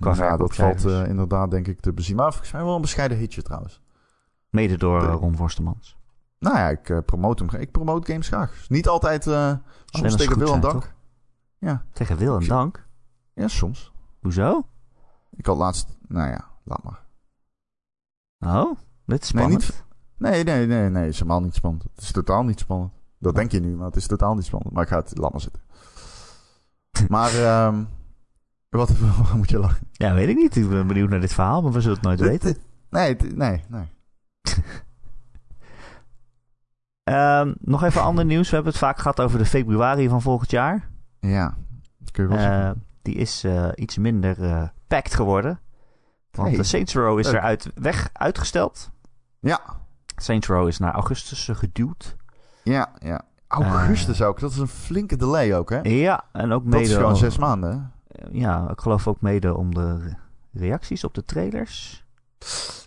A: Qua
B: ja, dat
A: verkoopcijfers.
B: valt eh, inderdaad denk ik te bezien. Maar volgens mij wel een bescheiden hitje trouwens.
A: Mede door eh, Ron Forstemans.
B: Nou ja, ik eh, promote hem. gra- Ik promote games graag. Niet altijd eh, soms
A: als ze
B: tegen
A: goed
B: wil en
A: zijn,
B: dank.
A: toch?
B: Ja.
A: Tegen Wil en
B: Ik-
A: Dank?
B: ja, soms.
A: Hoezo?
B: Ik had laatst... Nou ja, laat maar.
A: Oh, dit is
B: Nee,
A: spannend.
B: niet- Nee, nee, nee, nee. Het is helemaal niet spannend. Het is totaal niet spannend. Dat denk je nu, maar het is totaal niet spannend. Maar ik ga het... Laat maar zitten. Maar ehm wat, wat moet je lachen?
A: Ja, weet ik niet. Ik ben benieuwd naar dit verhaal, maar we zullen het nooit
B: Dit-
A: weten.
B: dit- Nee, dit- nee, nee.
A: Ehm, nog even ander nieuws. We hebben het vaak gehad over de februari van volgend jaar.
B: Ja, dat kun je wel zeggen.
A: Eh, die is eh, iets minder eh packed geworden. Want
B: Hey.
A: de Saints Row is
B: Leuk.
A: eruit weg, uitgesteld.
B: Ja,
A: Saints Row is naar augustus eh, geduwd.
B: ja, ja.
A: eh,
B: Augustus ook. Dat is een flinke delay ook, hè?
A: Ja, en ook
B: Dat is
A: mede...
B: gewoon zes maanden, hè?
A: Ja, ik geloof ook mede om de re- reacties op de trailers.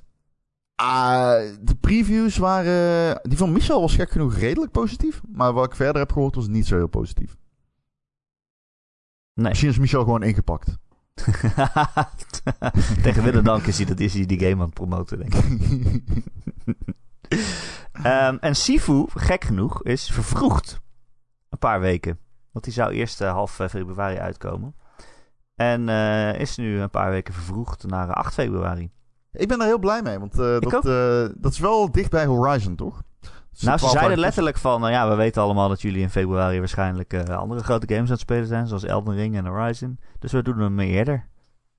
B: Ah, de previews waren... Die van Michel was gek genoeg redelijk positief. Maar wat ik verder heb gehoord was niet zo heel positief.
A: Nee.
B: Misschien is Michel gewoon ingepakt.
A: Tegen Willem Dank is hij, dat is hij die game aan het promoten, denk ik. Ehm, en Sifu, gek genoeg, is vervroegd. Een paar weken. Want die zou eerst eh, half eh, februari uitkomen. En eh, is nu een paar weken vervroegd naar eh, 8 februari.
B: ik ben daar heel blij mee, want eh,
A: Ik
B: dat, eh, dat is wel dicht bij Horizon, toch?
A: nou, ze zeiden letterlijk van... nou ja, we weten allemaal dat jullie in februari waarschijnlijk eh, andere grote games aan het spelen zijn. Zoals Elden Ring en Horizon. Dus we doen hem eerder.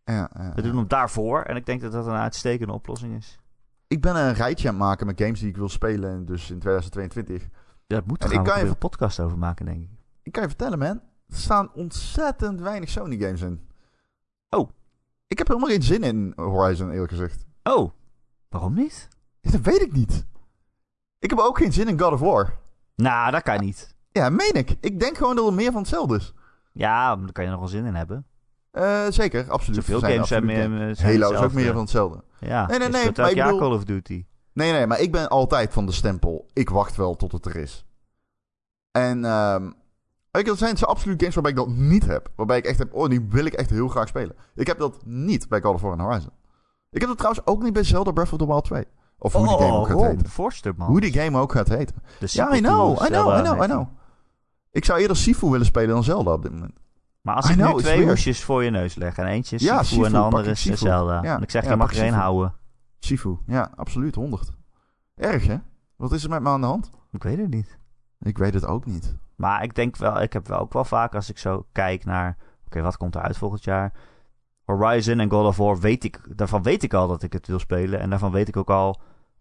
B: Ja, ja,
A: We
B: ja.
A: doen hem daarvoor. En ik denk dat dat een uitstekende oplossing is.
B: Ik ben een rijtje aan het maken met games die ik wil spelen en dus in 2022.
A: Dat moet
B: En
A: er
B: ik
A: gaan we
B: kan je-
A: weer een podcast over maken, denk ik.
B: Ik kan je vertellen, man. Er staan ontzettend weinig Sony games in.
A: Oh.
B: Ik heb helemaal geen zin in Horizon, eerlijk gezegd.
A: Oh, waarom niet?
B: Dat weet ik niet. Ik heb ook geen zin in God of War.
A: Nou, dat kan niet.
B: Ja, meen ik. Ik denk gewoon dat het meer van hetzelfde is.
A: Ja, daar kan je nog wel zin in hebben.
B: Eh, zeker, absoluut.
A: Zoveel
B: Er zijn
A: games zijn
B: absoluut
A: meer. eh,
B: games.
A: zijn
B: Halo is ook
A: hetzelfde.
B: meer van hetzelfde.
A: Ja, dus
B: Nee, nee,
A: je
B: nee,
A: speelt
B: maar
A: elk
B: ik
A: jaar
B: bedoel-
A: Call of Duty.
B: Nee, nee, maar ik ben altijd van de stempel. Ik wacht wel tot het er is. En ehm weet je, dat zijn ze absoluut games waarbij ik dat niet heb. Waarbij ik echt heb, oh, die wil ik echt heel graag spelen. Ik heb dat niet bij Call of War en Horizon. Ik heb dat trouwens ook niet bij Zelda Breath of the Wild 2. Of hoe
A: Oh,
B: die game ook gaat
A: Ron
B: heten.
A: Forster, man.
B: Hoe die game ook gaat heten.
A: De
B: Ja, I
A: sequel
B: know,
A: to
B: I know, I
A: Zelda
B: know, I
A: heet
B: know.
A: die.
B: Ik zou eerder Sifu willen spelen dan Zelda op dit moment.
A: Maar als
B: I
A: ik
B: know,
A: nu
B: it's
A: twee
B: weird.
A: hoesjes voor je neus leg en eentje is
B: Ja,
A: Sifu
B: Sifu,
A: en de
B: pak
A: andere
B: ik
A: is
B: Sifu.
A: Zelda.
B: Ja,
A: En ik zeg,
B: ja,
A: je mag
B: pak
A: er één
B: Sifu.
A: houden.
B: Sifu, ja, absoluut, 100. Erg, hè? Wat is er met me aan de hand?
A: Ik weet het niet.
B: Ik weet het ook niet.
A: Maar ik denk wel, ik heb wel ook wel vaak als ik zo kijk naar, oké, wat komt er uit volgend jaar? Horizon en God of War, weet ik, daarvan weet ik al dat ik het wil spelen. En daarvan weet ik ook al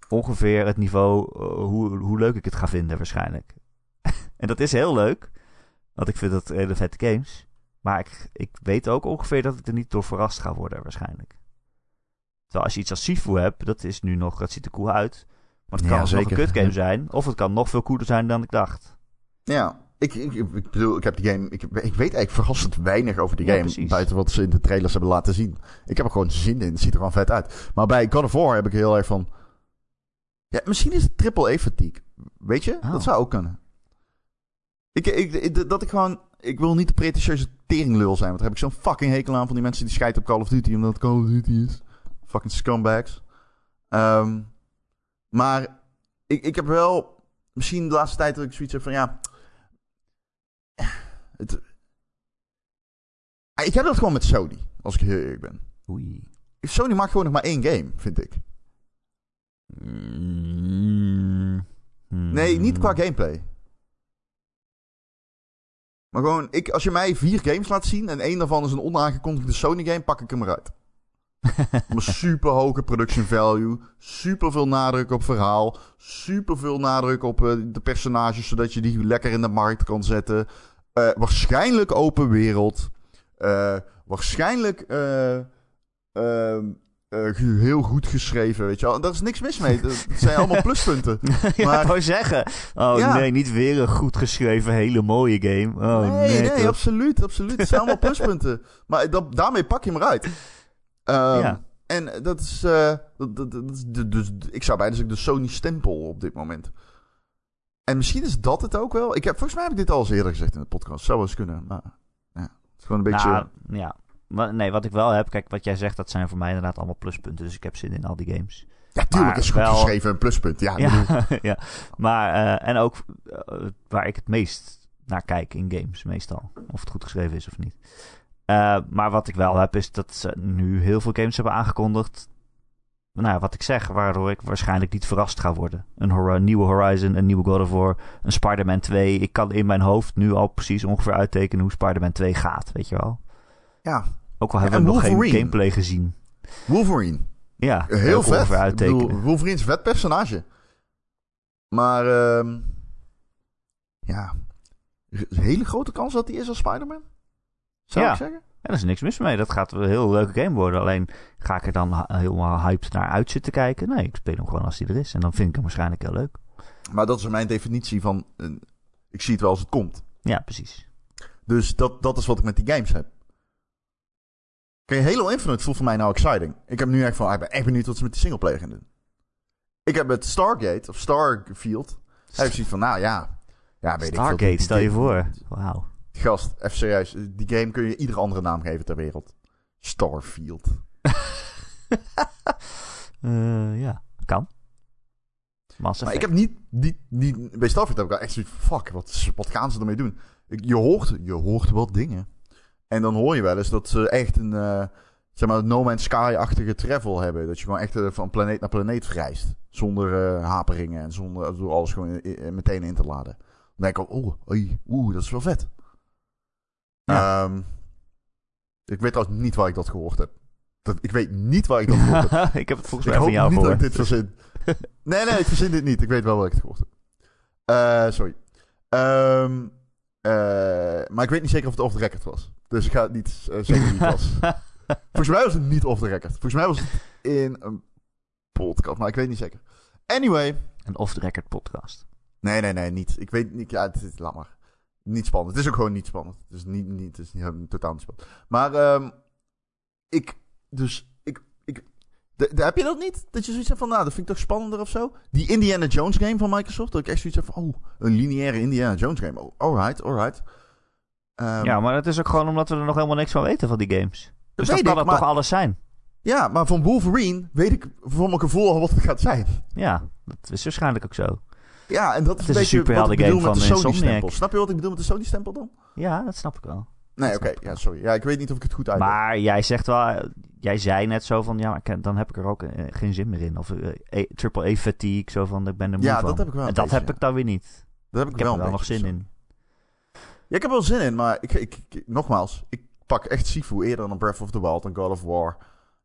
A: ongeveer het niveau, eh, hoe, hoe leuk ik het ga vinden waarschijnlijk. en dat is heel leuk, want ik vind dat hele vette games. Maar ik, ik weet ook ongeveer dat ik er niet door verrast ga worden waarschijnlijk. Terwijl als je iets als Sifu hebt, dat is nu nog, dat ziet er cool uit. Maar het
B: Ja,
A: kan alsnog
B: zeker.
A: een kutgame zijn, of het kan nog veel cooler zijn dan ik dacht.
B: Ja, ik, ik, ik bedoel, ik heb die game. Ik, ik weet eigenlijk verrassend weinig over die
A: Ja,
B: game.
A: precies.
B: Buiten wat ze in de trailers hebben laten zien. Ik heb er gewoon zin in. Het ziet er gewoon vet uit. Maar bij God of War heb ik heel erg van. Ja, misschien is het triple E-fatigue. Weet je?
A: Oh.
B: Dat zou ook kunnen. Ik, ik, ik- dat ik gewoon. Ik wil niet de pretentieuze teringlul zijn. Want daar heb ik zo'n fucking hekel aan van die mensen die scheiden op Call of Duty. Omdat het Call of Duty is. Fucking scumbags. Ehm, maar ik, ik heb wel. Misschien de laatste tijd dat ik zoiets heb van ja. Het, Ah, ik heb dat gewoon met Sony, als ik heel eerlijk ben.
A: Oei.
B: Sony maakt gewoon nog maar één game, vind ik. Nee,
A: Hmm.
B: niet qua gameplay. Maar gewoon, ik, als je mij vier games laat zien en één daarvan is een onaangekondigde Sony game, pak ik hem eruit. Een super hoge production value, super veel nadruk op verhaal, super veel nadruk op eh, de personages, zodat je die lekker in de markt kan zetten. Eh, waarschijnlijk open wereld. Eh, waarschijnlijk eh, ehm, eh, ge- heel goed geschreven, weet je wel. En Daar is niks mis mee. Dat dat zijn allemaal pluspunten.
A: ja,
B: maar-
A: ik wou zeggen. Oh
B: Ja.
A: nee, niet weer een goed geschreven, hele mooie game. Oh nee,
B: nee, nee,
A: toch?
B: absoluut, absoluut. Het zijn allemaal pluspunten. Maar dat, daarmee pak je hem eruit. Ehm,
A: Ja.
B: En dat is, eh, dat, dat, dat is de- dus, ik zou bijna zeggen de Sony-stempel op dit moment. En misschien is dat het ook wel. Ik heb, volgens mij heb ik dit al eens eerder gezegd in de podcast. Zou wel eens kunnen, maar... Ja, het is gewoon een beetje...
A: Nou, ja. Maar nee, wat ik wel heb, kijk, wat jij zegt, dat zijn voor mij inderdaad allemaal pluspunten. Dus ik heb zin in al die games.
B: ja, tuurlijk,
A: maar
B: is goed
A: wel-
B: geschreven, een pluspunt. Ja, ik bedoel,
A: Ja, ja. maar eh, en ook eh, waar ik het meest naar kijk in games, meestal. Of het goed geschreven is of niet. Eh, maar wat ik wel heb, is dat ze nu heel veel games hebben aangekondigd. Nou, ja, wat ik zeg, waardoor ik waarschijnlijk niet verrast ga worden. Een hora- nieuwe Horizon, een nieuwe God of War, een Spider-Man 2. Ik kan in mijn hoofd nu al precies ongeveer uittekenen hoe Spider-Man 2 gaat, weet je wel.
B: ja.
A: Ook al
B: Ja,
A: hebben
B: en
A: we nog geen
B: Wolverine.
A: gameplay gezien.
B: Wolverine.
A: Ja, kan ik
B: Heel
A: ook
B: vet.
A: ongeveer
B: Ik bedoel,
A: uittekenen.
B: Wolverine is een vet personage. Maar, ehm, ja. Er is Een hele grote kans dat hij is als Spider-Man. Zou
A: Ja.
B: ik zeggen?
A: Ja, daar is niks mis mee. Dat gaat een heel leuke game worden. Alleen ga ik er dan ha- helemaal hyped naar uit zitten kijken? Nee, ik speel hem gewoon als hij er is. En dan vind ik hem waarschijnlijk heel leuk.
B: Maar dat is mijn definitie van. eh, ik zie het wel als het komt.
A: Ja, precies.
B: Dus dat, dat is wat ik met die games heb. Kijk, Halo Infinite voelt voor mij nou exciting. Ik heb nu echt van. ah, Ik ben echt benieuwd wat ze met die singleplayer gaan doen. Ik heb met Stargate of Starfield. Heb ik zoiets van, nou ja. ja weet ik veel. Die-
A: Stargate,
B: die-
A: stel je voor. Wauw.
B: Gast, even serieus. Die game kun je iedere andere naam geven ter wereld. Starfield.
A: Eh, ja, kan. Mass
B: Maar
A: Effect.
B: ik heb niet, die, die, bij Starfield heb ik wel echt zoiets van, fuck, wat, is- wat gaan ze ermee doen? Ik- Je hoort, je hoort wel dingen. En dan hoor je wel eens dat ze echt een, eh, zeg maar, No Man's Sky-achtige travel hebben. Dat je gewoon echt eh, van planeet naar planeet reist. Zonder eh, haperingen en zonder eh, door alles gewoon i- i- meteen in te laden. Dan denk ik, al, oh, oei, oeh, dat is wel vet.
A: Ja.
B: Ehm, ik weet trouwens niet waar ik dat gehoord heb. Dat, ik weet niet waar ik dat gehoord heb.
A: ik heb het volgens
B: eh, Ik
A: mij
B: hoop
A: van
B: niet
A: jou
B: dat
A: voor.
B: ik dit verzin. nee, nee, ik verzin dit niet. Ik weet wel waar ik het gehoord heb. Eh, sorry. Ehm, eh, maar ik weet niet zeker of het off the record was. Dus ik ga het niet eh, zeggen wie het was. Volgens mij was het niet off the record. Volgens mij was het in een podcast, maar ik weet niet zeker. Anyway.
A: Een off-the-record podcast.
B: Nee, nee, nee, niet. Ik weet niet. Ja, het is, laat maar. Niet spannend. Het is ook gewoon niet spannend. Het is niet, niet, het is niet, helemaal- totaal niet spannend. Maar ehm, ik, dus ik, ik, de- de- heb je dat niet? Dat je zoiets hebt van, nou, dat vind ik toch spannender of zo? Die Indiana Jones game van Microsoft, dat ik echt zoiets heb van, oh, een lineaire Indiana Jones game. Oh, alright, alright. Ehm,
A: ja, maar dat is ook gewoon omdat we er nog helemaal niks van weten van die games. Dus
B: weet
A: dat kan
B: ik,
A: het
B: maar-
A: toch alles zijn?
B: ja, maar van Wolverine weet ik voor mijn gevoel al wat het gaat zijn.
A: Ja, dat is waarschijnlijk ook zo.
B: Ja, en dat
A: is
B: is een
A: een
B: beetje wat
A: superhelden
B: ik bedoel
A: game
B: met de
A: van Insomniac.
B: Sony-stempel. Snap je wat ik bedoel met de Sony-stempel dan?
A: Ja, dat snap ik wel.
B: Nee,
A: Dat
B: oké.
A: snap ik
B: ja,
A: wel.
B: sorry. Ja, ik weet niet of ik het goed uitleg.
A: Maar jij zegt wel, jij zei net zo van, ja, maar ik- dan heb ik er ook eh, geen zin meer in. Of eh, E- triple E fatigue, zo van, ik ben er moe
B: Ja,
A: van.
B: dat heb ik wel
A: En
B: een
A: dat
B: beetje,
A: heb
B: ja.
A: ik dan weer niet.
B: Daar heb ik,
A: Ik heb er
B: wel
A: wel
B: een
A: nog
B: beetje
A: zin
B: zo.
A: in.
B: Ja, ik heb wel zin in, maar ik, ik, ik- nogmaals, ik pak echt Sifu eerder dan Breath of the Wild en God of War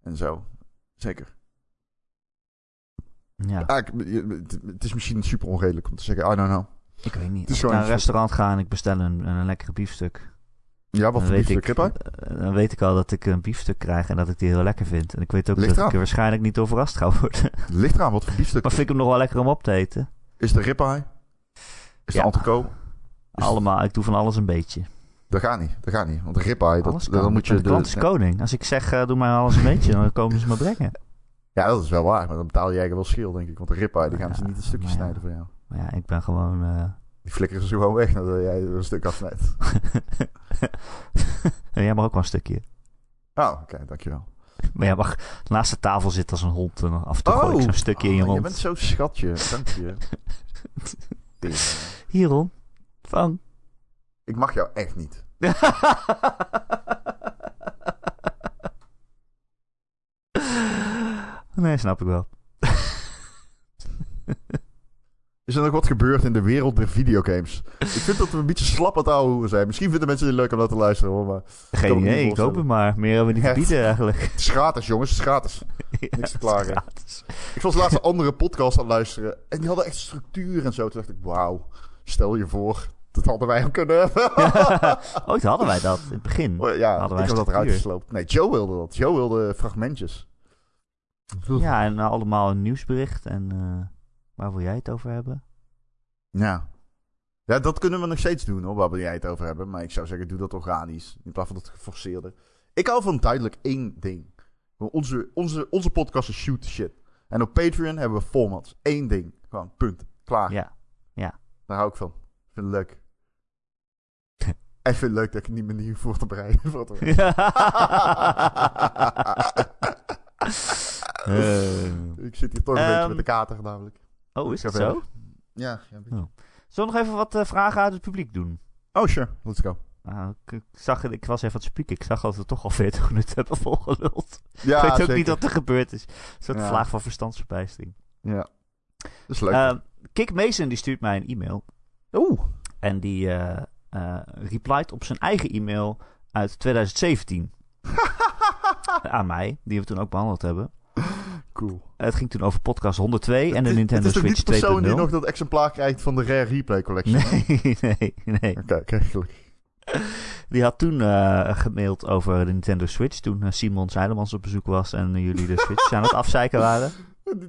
B: en zo. Zeker.
A: Ja,
B: Ah, ik- je- het- het is misschien super onredelijk om te zeggen, I don't know.
A: ik weet niet.
B: is
A: Als ik naar een
B: gewoon een soort-
A: restaurant ga en ik bestel een, een lekkere biefstuk,
B: Ja, wat
A: dan
B: voor
A: weet,
B: liefde
A: ik,
B: kip uit?
A: eh, dan weet ik al dat ik een biefstuk krijg en dat ik die heel lekker vind. En ik weet ook
B: Ligt
A: dat
B: eraan.
A: ik er waarschijnlijk niet door verrast ga worden.
B: Ligt eraan wat voor biefstuk.
A: maar vind ik hem nog wel lekker om op te eten?
B: Is de ribeye? Is
A: Ja.
B: de antico? Is-
A: Allemaal, ik doe van alles een beetje.
B: Dat gaat niet, dat gaat niet. Want de ribeye, dat,
A: alles kan.
B: dan moet je...
A: de klant is
B: de-
A: koning. Als ik zeg, eh, doe mij alles een beetje, dan komen ze me brengen.
B: ja, dat is wel waar, maar dan betaal jij er wel schil, denk ik. Want de ribeye, die gaan ze
A: Ja,
B: niet een stukje
A: maar ja.
B: snijden voor jou.
A: Maar ja, ik ben gewoon... eh,
B: Die flikkeren ze gewoon weg nadat jij er een stuk afsnijdt.
A: En jij mag ook wel een stukje.
B: Oh, oké, dankjewel.
A: Maar jij mag naast de tafel zitten als een hond. En af en toe gooi ik zo'n stukje in je
B: Oh,
A: mond.
B: Je bent zo schatje, dank je. Tering.
A: Hier, Ron. Vang.
B: Ik mag jou echt niet.
A: nee, snap ik wel.
B: Is er nog wat gebeurd in de wereld der videogames? Ik vind dat we een beetje slap aan het ouwe hoeren zijn. Misschien vinden mensen het leuk om dat te luisteren hoor, maar...
A: Geen
B: me niet
A: idee, ik
B: voorstellen.
A: hoop het maar. Meer hebben we niet te
B: Echt.
A: bieden eigenlijk.
B: Het is gratis jongens, het is gratis. Niks te klagen.
A: Gratis.
B: Ik was laatst een andere podcast aan het luisteren. En die hadden echt structuur en zo. Toen dacht ik, wauw, stel je voor, dat hadden wij ook kunnen hebben. Oh,
A: Ooit Oh, hadden wij dat, in het begin.
B: ja,
A: Hadden wij
B: ik heb dat eruit
A: structuur.
B: gesloopt. Nee, Joe wilde dat. Joe wilde fragmentjes.
A: Ja, en eh, allemaal een nieuwsbericht. En eh, waar wil jij het over hebben?
B: Ja. Ja, dat kunnen we nog steeds doen hoor, waar wil jij het over hebben. Maar ik zou zeggen, doe dat organisch. In plaats van dat geforceerde. Ik hou van duidelijk één ding. Onze, onze, onze podcast is Ah. shoot the shit. En op Patreon hebben we formats. Eén ding. Gewoon, punt. Klaar.
A: Ja, ja.
B: Daar hou ik van. Ik vind het leuk. ik vind het leuk dat ik niet meer nieuw voor te bereiden. Voor te bereiden.
A: Eh.
B: ik zit hier toch een beetje
A: Ehm,
B: met de kater namelijk.
A: oh, is dat
B: Ik heb
A: zo?
B: verder. Ja, ja, een beetje.
A: Zullen we nog even wat eh, vragen uit het publiek doen?
B: Oh, sure. Let's go.
A: Ah, ik, ik zag, het- ik was even aan het spieken. Ik zag dat we toch al 40 minuten hebben volgeluld.
B: Ja,
A: ik weet ook
B: zeker.
A: niet wat er gebeurd is. Een soort
B: Ja.
A: vlaag van verstandsverbijstering.
B: Ja. Dat is leuk.
A: Ehm Kik Mason die stuurt mij een e-mail.
B: Oeh.
A: En die eh eh, replied op zijn eigen e-mail uit 2017 aan mij. Die we toen ook behandeld hebben.
B: cool.
A: Het ging toen over podcast 102 en de
B: Het is-
A: Nintendo
B: Het is toch
A: Switch
B: niet de persoon
A: 2.0.
B: die nog dat exemplaar krijgt van de Rare Replay Collection?
A: Nee, nee, nee.
B: Oké, kijk, gelukkig.
A: Die had toen eh, gemaild over de Nintendo Switch. Toen eh, Simon Zeilemans op bezoek was en jullie de Switch aan het afzeiken waren.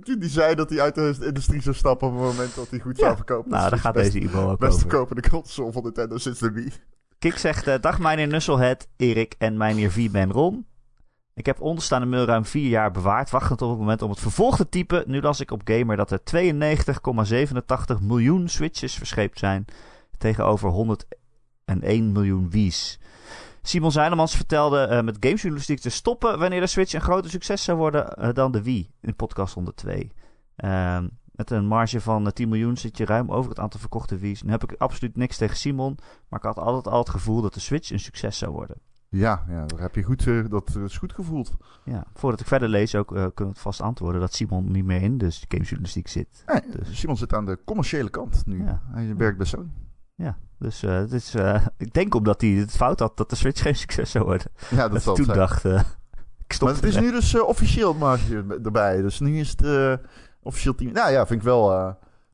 B: Die, die zei dat hij uit de industrie zou stappen op het moment dat hij goed
A: Ja.
B: zou verkopen.
A: Nou,
B: Dat
A: daar
B: is
A: gaat
B: best-
A: deze e-mail ook
B: Best
A: over.
B: verkopende console van Nintendo sinds de Wii.
A: Kik zegt, eh, dag mijneer Nusselhead, Erik en mijneer V-Man Ron. Ik heb onderstaande mail ruim vier jaar bewaard, wachtend op het moment om het vervolg te typen. Nu las ik op Gamer dat er 92,87 miljoen Switches verscheept zijn tegenover 101 miljoen Wii's. Simon Zijnemans vertelde eh, met gamejournalistiek te stoppen wanneer de Switch een groter succes zou worden eh, dan de Wii in podcast 102. Ehm, met een marge van eh, 10 miljoen zit je ruim over het aantal verkochte Wii's. Nu heb ik absoluut niks tegen Simon. Maar ik had altijd al het gevoel dat de Switch een succes zou worden.
B: Ja, ja daar heb je goed, eh, dat eh, is goed gevoeld.
A: Ja, voordat ik verder lees ook eh, kunnen we het vast antwoorden dat Simon niet meer in de gamejournalistiek zit.
B: Nee,
A: Dus-
B: Simon zit aan de commerciële kant nu.
A: Ja.
B: Hij werkt bij Sony.
A: Dus eh, het is, eh, ik denk omdat hij het fout had dat de Switch geen succes zou worden.
B: Ja, dat
A: Dat hij
B: zal het
A: toen
B: zijn.
A: dacht, eh, ik stop
B: Maar het is
A: ermee.
B: nu dus eh, officieel het marge erbij. Dus nu is het eh, officieel team. Nou ja, vind ik wel. eh,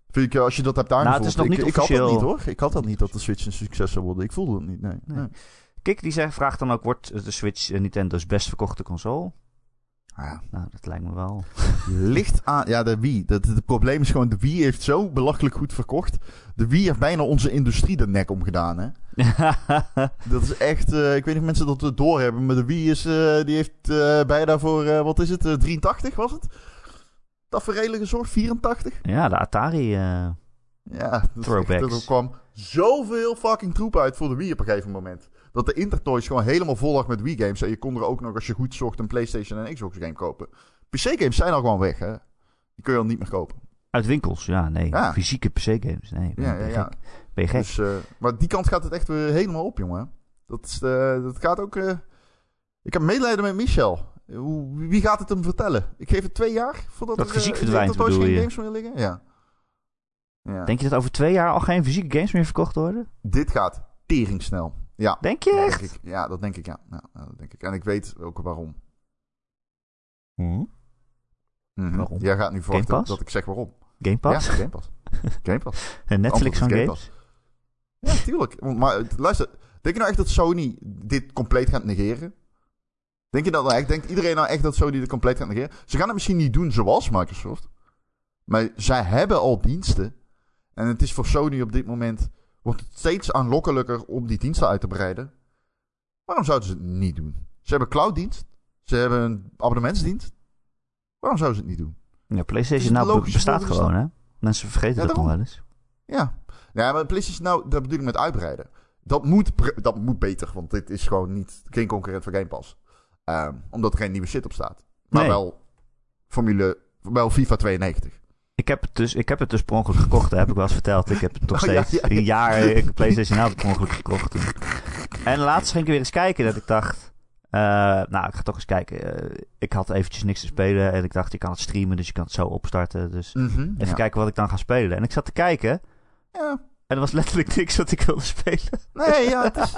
B: vind ik, eh, als je dat hebt aangevoeld.
A: Nou, het is nog
B: ik,
A: niet
B: ik had dat
A: officieel.
B: niet hoor. Ik had dat niet dat de Switch een succes zou worden. Ik voelde het niet. Nee.
A: Nee.
B: nee.
A: Kik die zegt, vraagt dan ook, wordt de Switch eh, Nintendo's best verkochte console?
B: Ah, ja.
A: Nou, dat lijkt me wel.
B: Licht aan. Ja, de Wii. Dat, het probleem is gewoon. De Wii heeft zo belachelijk goed verkocht. De Wii heeft bijna onze industrie de nek omgedaan. Hè? Dat is echt. eh, ik weet niet of mensen dat het doorhebben. Maar de Wii is, eh, die heeft eh, bijna voor. eh, wat is het? eh, 83 was het? Dat voor redelijk gezorgd. 84?
A: ja, de Atari. eh,
B: Ja, dat is echt-
A: Throwbacks.
B: er kwam zoveel fucking troep uit voor de Wii op een gegeven moment. Dat de Intertoys gewoon helemaal vol lag met Wii-games. En je kon er ook nog, als je goed zocht, een PlayStation en een Xbox-game kopen. PC-games zijn al gewoon weg, hè. Die kun je al niet meer kopen.
A: uit winkels, ja, nee.
B: Ja.
A: Fysieke PC-games, nee.
B: Ja,
A: ben
B: ja,
A: je
B: ja.
A: gek? Ben je gek?
B: Dus, eh, maar die kant gaat het echt weer helemaal op, jongen. Dat, is, eh, dat gaat ook... eh, ik heb medelijden met Michel. Hoe- Wie gaat het hem vertellen? Ik geef het twee jaar voordat
A: Dat
B: er,
A: fysiek
B: eh,
A: verdwijnt,
B: Intertoys
A: bedoel
B: geen
A: je?
B: games meer liggen. Ja. ja.
A: Denk je dat over twee jaar al geen fysieke games meer verkocht worden?
B: Dit gaat teringsnel. Ja.
A: Denk je
B: Ja,
A: echt?
B: denk ik. Ja, dat denk ik, ja. Ja, ja, dat denk ik. En ik weet ook waarom.
A: Hm?
B: Mhm.
A: Waarom?
B: Jij gaat nu verwachten
A: Pass?
B: dat ik zeg waarom.
A: Game Pass?
B: Ja, Game Pass. Game Pass.
A: En Eh, Netflix van
B: Antwoord is Game
A: games?
B: Ja, tuurlijk. Want- Maar eh, luister, denk je nou echt dat Sony dit compleet gaat negeren? Denk je dat nou echt? Denkt iedereen nou echt dat Sony dit compleet gaat negeren? Ze gaan het misschien niet doen zoals Microsoft. Maar zij hebben al diensten. En het is voor Sony op dit moment... Wordt het steeds aanlokkelijker om die diensten uit te breiden. Waarom zouden ze het niet doen? Ze hebben clouddienst. Ze hebben een abonnementsdienst. Waarom zouden ze het niet doen?
A: Ja,
B: Het is
A: PlayStation
B: een
A: nou be-
B: logische
A: bestaat
B: volgende stap.
A: gewoon, hè? Mensen vergeten
B: Ja,
A: dat nog
B: daarom.
A: wel eens.
B: Ja. Nou ja, maar PlayStation nou, dat bedoel ik met uitbreiden. Dat moet, pre- dat moet beter, want dit is gewoon niet, geen concurrent van Game Pass. Ehm, omdat er geen nieuwe shit op staat. Maar
A: Nee.
B: wel Formule, wel FIFA 92.
A: Ik heb, het dus, ik heb het dus per ongeluk gekocht, dat heb ik wel eens verteld. Ik heb het nog
B: Oh, ja,
A: steeds
B: ja, ja.
A: een jaar eh, PlayStation nou per ongeluk gekocht. toen. En laatst ging ik weer eens kijken dat ik dacht... eh, nou, ik ga toch eens kijken. Eh, ik had eventjes niks te spelen en ik dacht, je kan het streamen, dus je kan het zo opstarten. Dus even
B: ja.
A: kijken wat ik dan ga spelen. En ik zat te kijken
B: Ja.
A: en er was letterlijk niks wat ik wilde spelen.
B: Nee, ja, het is,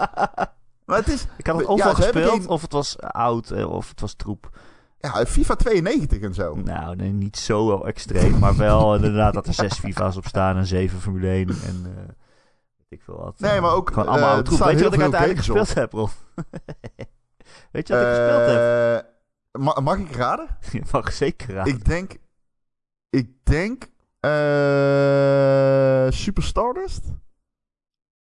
B: maar het is...
A: Ik had het
B: Ja,
A: ofwel
B: ze hebben
A: gespeeld,
B: geen-
A: of het was oud, eh, of het was troep.
B: Ja, FIFA 92 en zo.
A: Nou, nee, niet zo extreem, maar wel inderdaad dat er zes FIFA's op staan en zeven Formule 1 en eh, weet ik veel wat.
B: Nee, maar ook,
A: Gewoon allemaal
B: eh,
A: oud
B: er
A: goed.
B: staan
A: Weet je wat ik
B: heel veel
A: uiteindelijk
B: games
A: gespeeld heb, Rolf? weet je wat ik gespeeld heb?
B: Eh, ma- mag ik raden?
A: Je mag zeker raden.
B: Eh, Ik denk... Ik denk... eh Super Stardust?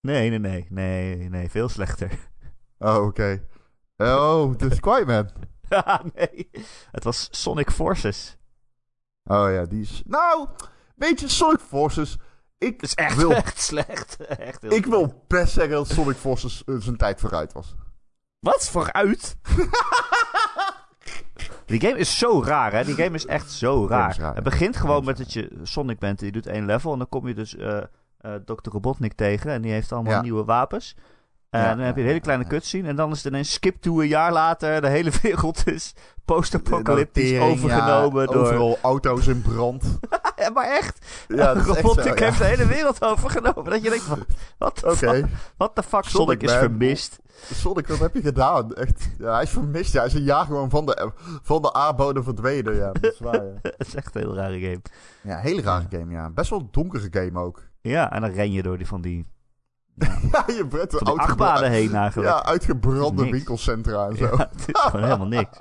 A: Nee, nee, nee, nee, nee, veel slechter.
B: Oh, oké. Oh, dat is Quiet Man.
A: Haha, nee, het was Sonic Forces.
B: Oh ja, die is... Nou, weet je, Sonic Forces... Ik
A: Het is echt,
B: wil,
A: echt slecht. Echt heel
B: ik
A: slecht.
B: wil best zeggen dat Sonic Forces eh, zijn tijd vooruit was.
A: Wat? Vooruit? Die game is zo raar, hè? Die game is echt zo
B: game
A: raar.
B: is raar,
A: het
B: ja.
A: begint gewoon
B: Game
A: met
B: is
A: dat je Sonic bent. en Je doet één level en dan kom je dus eh eh, Dr. Robotnik tegen. En die heeft allemaal
B: Ja.
A: nieuwe wapens. Eh, En
B: Ja,
A: dan heb je een
B: ja,
A: hele kleine
B: ja.
A: cutscene. En dan is het ineens skip to een jaar later. De hele wereld is post-apocalyptisch
B: Tering,
A: overgenomen
B: ja,
A: door... Ah,
B: Overal auto's in brand.
A: Ja, maar echt,
B: Ja, dat is echt
A: Robotnik
B: zo, ja.
A: heeft de hele wereld overgenomen. Dat je denkt, van, wat de
B: Oké.
A: fuck, what the fuck, Sonic,
B: Sonic
A: is
B: Man.
A: vermist.
B: Sonic, wat heb je gedaan? Echt, ja, hij is vermist. Ja. Hij is een jaar gewoon van de, van de aardbodem verdwenen. Ja, dat is waar. Ja.
A: Het is echt een heel rare game.
B: ja, hele rare game, ja. Best wel donkere game ook.
A: Ja, en dan ren je door die van die,
B: Ja, je bent
A: van die
B: een oud
A: achtbanen heen eigenlijk.
B: Ja, uitgebrande
A: Niks.
B: winkelcentra en zo.
A: Ja, het is gewoon helemaal niks.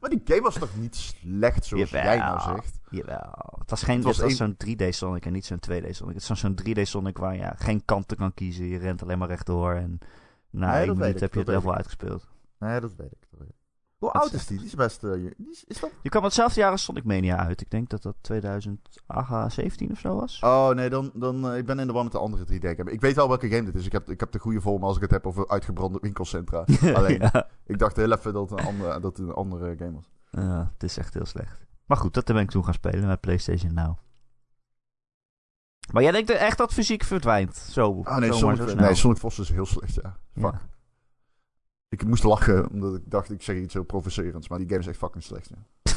B: maar die game was toch niet slecht zoals jij nou
A: Jawel.
B: zegt?
A: Jawel. Het was, geen, het
B: was
A: was,
B: één-
A: zo'n 3D Sonic en niet zo'n 2D Sonic. Het is zo'n 3D Sonic waar je geen kanten kan kiezen. Je rent alleen maar rechtdoor en na
B: Nee,
A: één
B: dat weet
A: minuut
B: ik,
A: heb je het
B: dat weet
A: level uitgespeeld.
B: Nee, dat weet ik. dat weet ik. Hoe
A: Dat
B: oud
A: is
B: is die? Die is best... eh, je- die is, is dat...
A: Je kwam hetzelfde jaar als Sonic Mania uit. Ik denk dat dat 2017 of zo was.
B: Oh nee, dan, dan, eh, ik ben in de war met de andere 3D game. Ik weet wel welke game dit is. Ik heb, ik heb de goede vorm als ik het heb over uitgebrande winkelcentra. Alleen,
A: ja.
B: ik dacht heel even dat het een andere, dat het een andere game was.
A: Ja, het is echt heel slecht. Maar goed, dat ben ik toen gaan spelen met PlayStation Now. Maar jij denkt echt dat fysiek verdwijnt? Zo.
B: Ah
A: zomaar
B: nee,
A: zo
B: Sonic,
A: snel.
B: nee, Sonic Forces is heel slecht, ja.
A: Ja.
B: Fuck. Ik moest lachen, omdat ik dacht, ik zeg iets heel provocerends. Maar die game is echt fucking slecht, ja.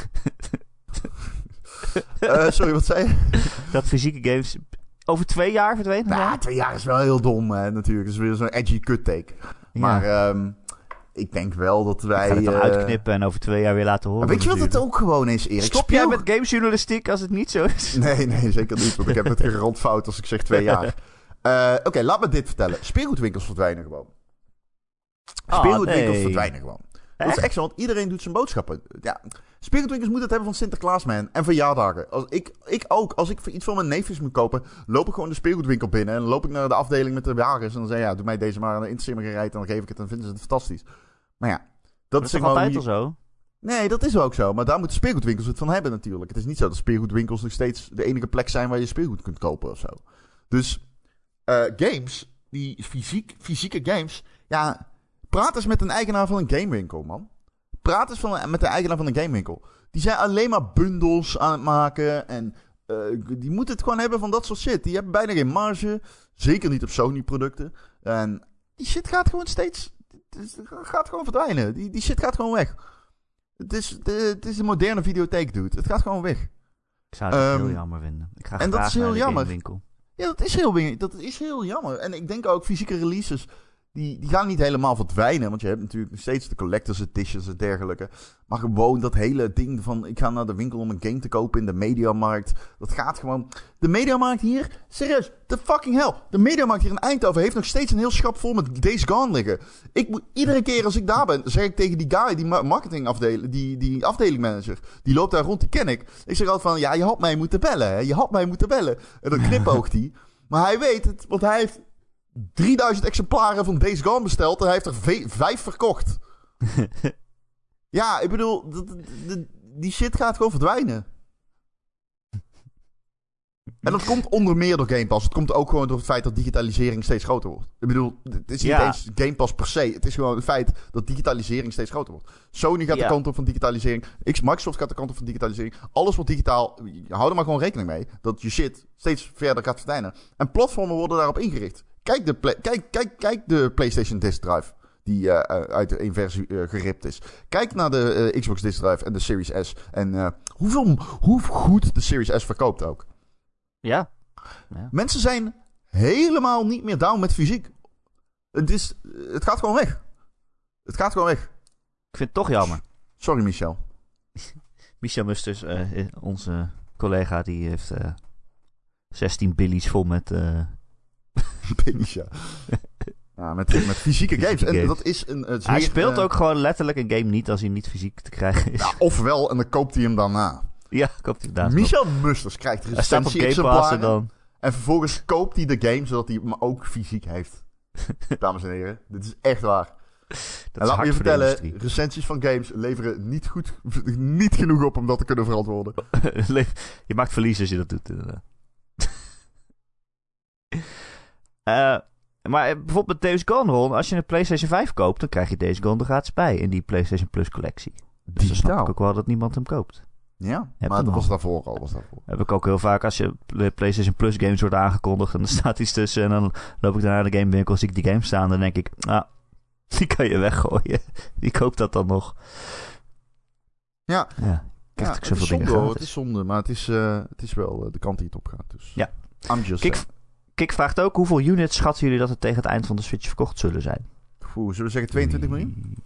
B: Eh, sorry, wat zei je?
A: Dat fysieke games over twee jaar verdwenen?
B: Nou,
A: zijn?
B: twee jaar is wel heel dom, hè, natuurlijk. Dat is weer zo'n edgy cut take.
A: Ja.
B: Maar ehm, ik denk wel dat wij...
A: ik ga het dan
B: eh,
A: uitknippen en over twee jaar weer laten horen.
B: maar weet je wat het
A: natuurlijk.
B: ook gewoon is, Erik?
A: Stop
B: Speel-
A: jij met gamejournalistiek als het niet zo is?
B: Nee, nee, zeker niet. Want ik heb het gerond fout als ik zeg twee jaar. Eh, Oké, laat me dit vertellen. Speelgoedwinkels verdwijnen gewoon.
A: Ah,
B: Speelgoedwinkels
A: nee.
B: verdwijnen gewoon. Dat
A: Echt?
B: is echt zo, want iedereen doet zijn boodschappen. Ja, speelgoedwinkels moeten het hebben van Sinterklaas, man. En verjaardagen. Als ik, ik ook. Als ik voor iets voor mijn neefjes moet kopen, loop ik gewoon de speelgoedwinkel binnen. En dan loop ik naar de afdeling met de wagens. En dan zeg ik, ja, doe mij deze maar aan de intersimmer rijdt. En dan geef ik het en vinden ze het fantastisch. Maar ja, dat,
A: Dat
B: is
A: is toch
B: gewoon...
A: altijd
B: hier-
A: al zo?
B: Nee, dat is ook zo. Maar daar moeten speelgoedwinkels het van hebben natuurlijk. Het is niet zo dat speelgoedwinkels nog steeds de enige plek zijn waar je speelgoed kunt kopen of zo. Dus eh, games, die fysiek, fysieke games. Ja, praat eens met een eigenaar van een gamewinkel, man. Praat eens van, met de eigenaar van een gamewinkel. Die zijn alleen maar bundels aan het maken. En eh, die moeten het gewoon hebben van dat soort shit. Die hebben bijna geen marge. Zeker niet op Sony-producten. En die shit gaat gewoon steeds. het gaat gewoon verdwijnen. Die, die shit gaat gewoon weg. Het is, de, het is een moderne videotheek, dude. Het gaat gewoon weg.
A: Ik zou het
B: Ehm,
A: heel jammer vinden. Ik ga
B: en dat
A: graag
B: is heel
A: naar de
B: jammer.
A: gamewinkel.
B: Ja, dat is heel, wing- dat is heel jammer. En ik denk ook fysieke releases, die, die gaan niet helemaal verdwijnen. Want je hebt natuurlijk nog steeds de collectors editions en dergelijke. Maar gewoon dat hele ding van ik ga naar de winkel om een game te kopen in de mediamarkt. Dat gaat gewoon... De mediamarkt hier, serieus, the fucking hell. De mediamarkt hier in Eindhoven heeft nog steeds een heel schap vol met Days Gone liggen. Ik moet, iedere keer als ik daar ben, zeg ik tegen die guy, die ma- marketingafdeling, die, die afdelingmanager. Die loopt daar rond, die ken ik. Ik zeg altijd van, ja, je had mij moeten bellen. Hè? Je had mij moeten bellen. En dan knipoogt hij. Maar hij weet het, want hij heeft 3000 exemplaren van Days Gone besteld en hij heeft er ve- vijf verkocht. ja, ik bedoel, d- d- d- die shit gaat gewoon verdwijnen. En dat komt onder meer door Game Pass. Het komt ook gewoon door het feit dat digitalisering steeds groter wordt. Ik bedoel, het is niet
A: Ja.
B: eens Game Pass per se. Het is gewoon het feit dat digitalisering steeds groter wordt. Sony gaat
A: Ja.
B: de kant op van digitalisering. X- Microsoft gaat de kant op van digitalisering. Alles wordt digitaal. Hou er maar gewoon rekening mee dat je shit steeds verder gaat verdwijnen. En platformen worden daarop ingericht. Kijk de, pla- kijk, kijk, kijk de PlayStation Disk Drive. Die eh, eh, uit de één versie eh, geript is. Kijk naar de eh, Xbox Disk Drive en de Series S. En eh, hoeveel, hoe goed de Series S verkoopt ook.
A: Ja.
B: Mensen zijn helemaal niet meer down met fysiek. Het, is, het gaat gewoon weg. Het gaat gewoon weg.
A: Ik vind het toch jammer.
B: Sorry, Michel.
A: Michel Musters, eh, eh, onze collega, die heeft eh 16 billies vol met... eh,
B: Penis, ja. Ja, met, met fysieke games.
A: Fysieke
B: En
A: games.
B: dat is een. Het is
A: hij
B: weer,
A: speelt
B: eh,
A: ook gewoon letterlijk een game niet als hij niet fysiek te krijgen is.
B: ja, ofwel, en dan koopt hij hem daarna.
A: Ja, klopt inderdaad.
B: Michel Musters krijgt
A: Hij staat op Game Pass en
B: recensie-exemplaren. En,
A: dan...
B: vervolgens koopt hij de game zodat hij hem ook fysiek heeft. Dames en heren, dit is echt waar.
A: Dat
B: en
A: is
B: laat me
A: hard
B: je
A: voor de
B: vertellen:
A: industrie.
B: recensies van games leveren niet, goed, niet genoeg op om dat te kunnen verantwoorden.
A: je maakt verlies als je dat doet, inderdaad. Eh, maar eh, bijvoorbeeld met Days Gone, Ron, als je een PlayStation 5 koopt, dan krijg je Days Gone er gratis bij in die PlayStation Plus collectie. Dus dan snap
B: Digitaal.
A: ik ook wel dat niemand hem koopt.
B: Ja,
A: Heb
B: maar
A: hem
B: dat
A: al.
B: was daarvoor al. Was daarvoor.
A: Heb ik ook heel vaak als je de PlayStation Plus games wordt aangekondigd en er staat iets tussen. En dan loop ik daarna naar de gamewinkel, zie ik die game staan. Dan denk ik, ah, die kan je weggooien. Wie koopt dat dan nog?
B: Ja.
A: ja ik heb
B: Ja,
A: natuurlijk
B: het is
A: zoveel
B: zonde
A: dingen
B: hoor,
A: gratis.
B: het is zonde, maar het is, eh, het is wel eh, de kant die het op gaat. Dus.
A: Ja.
B: I'm just
A: Kijk,
B: saying.
A: Kik vraagt ook, hoeveel units schatten jullie dat er tegen het eind van de Switch verkocht zullen zijn?
B: Oeh, zullen we zeggen 22 miljoen?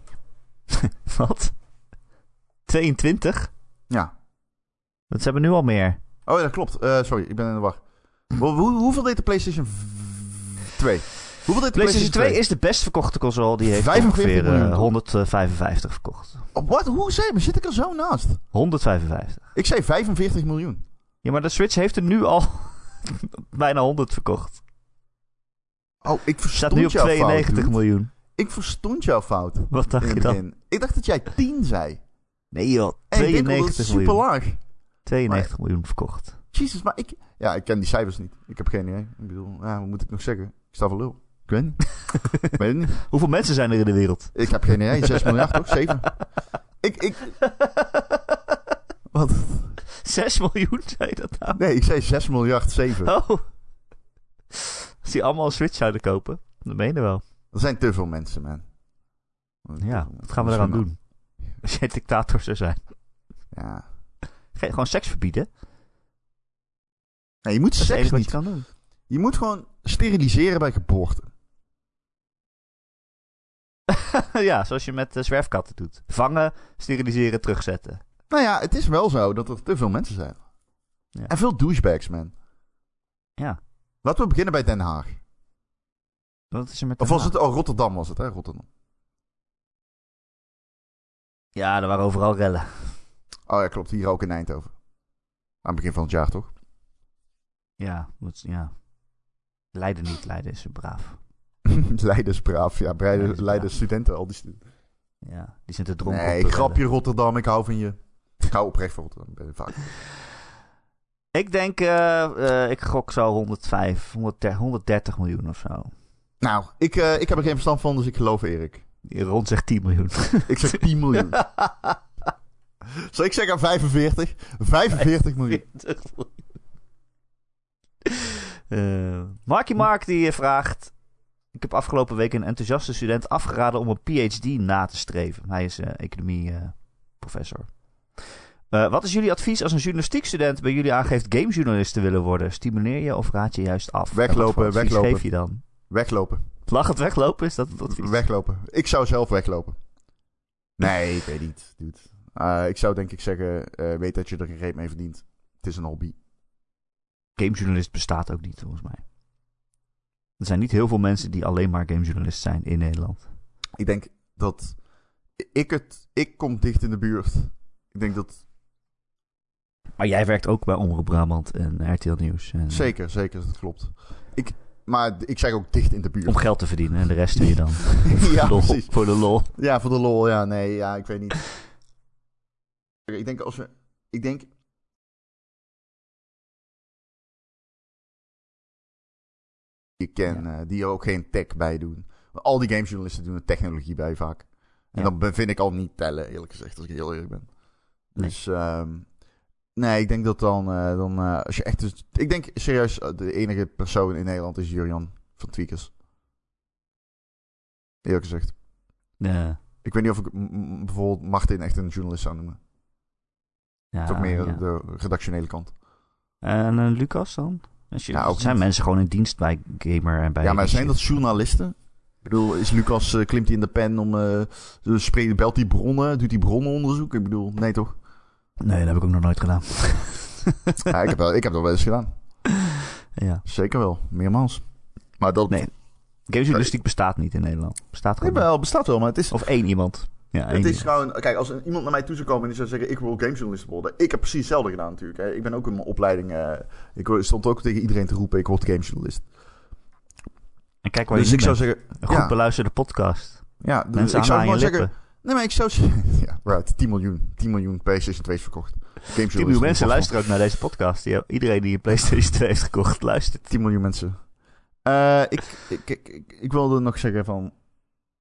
A: Wat? 22?
B: Ja.
A: Want ze hebben nu al meer.
B: Oh ja, dat klopt. Eh, sorry, ik ben in de war. Hoe- hoe- hoeveel deed de PlayStation v- 2? Hoeveel deed de
A: PlayStation 2 is de best verkochte console. Die heeft
B: 45
A: ongeveer eh,
B: miljoen, toch?
A: 155 verkocht.
B: Oh, Wat? Hoe zei maar Zit ik er zo naast?
A: 155.
B: Ik zei 45 miljoen.
A: Ja, maar de Switch heeft er nu al bijna 100 verkocht.
B: Oh, ik verstond
A: Staat nu op
B: jouw
A: 92
B: fout, dude.
A: miljoen.
B: Ik verstond jouw fout. in
A: Wat dacht
B: het
A: je dan?
B: begin. Ik dacht dat jij 10 zei.
A: Nee joh,
B: En ik denk wel dat het
A: 92
B: super
A: miljoen.
B: laag.
A: 92 miljoen verkocht.
B: Jezus, maar ik... Ja, ik ken die cijfers niet. Ik heb geen idee. Ik bedoel, ja, wat moet ik nog zeggen? Ik sta voor lul. Ik weet niet. Ik weet het niet.
A: Hoeveel mensen zijn er in de wereld?
B: Ik heb geen idee. 6 miljard, toch? 7? Ik, ik... Wat?
A: 6 miljoen, zei je dat nou?
B: Nee, ik zei 6 miljard 7.
A: Oh. Als die allemaal een Switch zouden kopen, dan meen je wel.
B: Er zijn te veel mensen, man. Er zijn te
A: Ja,
B: veel
A: wat gaan we
B: mensen.
A: eraan doen? Als jij dictator zou zijn.
B: Ja.
A: Ge- Gewoon seks verbieden. Dat
B: Nee, je moet
A: is het
B: seks
A: enige wat je
B: niet.
A: kan doen.
B: Je moet gewoon steriliseren bij geboorte.
A: ja, zoals je met eh, zwerfkatten doet. Vangen, steriliseren, terugzetten.
B: Nou ja, het is wel zo dat er te veel mensen zijn.
A: Ja.
B: En veel douchebags, man.
A: Ja.
B: Laten we beginnen bij Den Haag.
A: Wat is er met
B: Of
A: Den
B: was het... Oh, Rotterdam was het, hè? Rotterdam.
A: Haag? Ja, er waren overal rellen.
B: Oh ja, klopt. Hier ook in Eindhoven. Aan het begin van het jaar, toch?
A: Ja, moet, ja. Leiden niet, Leiden is braaf.
B: Leiden is braaf. Ja, Breiden-
A: Leiden is
B: Leiden
A: dus braaf.
B: studenten, al die studenten.
A: Ja, die zijn te dronken. om
B: Nee,
A: te
B: grapje
A: rellen.
B: Rotterdam. Ik hou van je. Ik hou oprecht van Rotterdam. Ik ben vaak.
A: Ik denk, eh, eh, ik gok zo 105, 130, 130 miljoen of zo.
B: Nou, ik, eh, ik heb er geen verstand van, dus ik geloof Erik.
A: Rond zegt 10 miljoen.
B: Ik zeg 10 miljoen. Zal ik zeggen 45? 45 miljoen.
A: 40 miljoen. Eh, Marky Mark die vraagt... Ik heb afgelopen week een enthousiaste student afgeraden om een PhD na te streven. Hij is eh, economie-professor. Eh, wat is jullie advies als een journalistiekstudent bij jullie aangeeft gamejournalist te willen worden? Stimuleer je of raad je juist af? En wat
B: Weglopen,
A: voor advies
B: weglopen.
A: geef je dan?
B: Weglopen.
A: Lachend weglopen, is dat het advies?
B: Weglopen. Ik zou zelf weglopen. Nee, ik weet niet. Dude. Eh, ik zou denk ik zeggen, eh, weet dat je er geen reet mee verdient. Het is een hobby.
A: Gamejournalist bestaat ook niet, volgens mij. Er zijn niet heel veel mensen die alleen maar gamejournalist zijn in Nederland.
B: Ik denk dat ik het... Ik kom dicht in de buurt. Ik denk dat...
A: Maar jij werkt ook bij Omroep Brabant en RTL Nieuws. En, eh,
B: Zeker, zeker, dat klopt. Ik, maar ik zeg ook dicht in de
A: Om
B: buurt.
A: geld te verdienen en de rest doe je dan.
B: ja,
A: lol,
B: precies.
A: Voor de lol.
B: Ja, voor de lol, ja, nee, ja, ik weet niet. Ik denk als we. Ik denk. Je ken, eh, die er ook geen tech bij doen. Al die gamesjournalisten doen er technologie bij vaak.
A: Ja.
B: En dan ben- vind ik al niet tellen, eerlijk gezegd, als ik heel eerlijk ben.
A: Nee.
B: Dus, ehm, nee, ik denk dat dan, eh, dan eh, als je echt... dus- ik denk serieus, eh, de enige persoon in Nederland is Jurjan van Tweakers. Eerlijk gezegd.
A: Ja,
B: Ik weet niet of ik mm, mm, bijvoorbeeld Martin echt een journalist zou noemen.
A: ja,
B: Toch meer
A: Ah, ja.
B: de redactionele kant.
A: En eh, Lucas dan? Als je,
B: Ja, Nou, ook
A: zijn
B: niet.
A: mensen gewoon in dienst bij Gamer en bij...
B: ja, maar
A: die
B: zijn dat
A: shit?
B: journalisten? Ik bedoel, is Lucas, eh, klimt hij in de pen om... eh dus spreekt, belt hij bronnen, doet hij bronnenonderzoek? Ik bedoel, nee toch?
A: Nee, dat heb ik ook nog nooit gedaan.
B: Ja, ik, heb wel, ik heb dat wel eens gedaan.
A: ja.
B: Zeker wel, meermaals. Maar dat...
A: Nee, Gamejournalistiek bestaat niet in Nederland. Bestaat
B: Nee,
A: gewoon
B: wel, bestaat wel, maar het is...
A: niet. Of één iemand. Ja, één
B: Het is
A: iemand.
B: gewoon, kijk, als een- iemand naar mij toe zou komen en die zou zeggen: Ik wil gamejournalist worden. Ik heb precies hetzelfde gedaan, natuurlijk. Hè. Ik ben ook in mijn opleiding. eh, ik stond ook tegen iedereen te roepen: Ik word gamejournalist.
A: En kijk waar
B: Dus
A: je
B: ik
A: nu
B: zou
A: bent.
B: zeggen:
A: Een goed
B: ja.
A: beluisterde podcast.
B: Ja, dus
A: Mensen
B: ik
A: aan
B: zou
A: aan je
B: gewoon zeggen.
A: lippen.
B: Nee, maar ik zou zeggen... Ja, right. 10 miljoen. 10 miljoen PlayStation 2's verkocht. Games
A: 10 miljoen mensen luisteren ook naar deze podcast. Die, iedereen die een PlayStation 2 heeft gekocht, luistert.
B: 10 miljoen mensen. Eh, ik, ik, ik, ik, ik wilde nog zeggen van...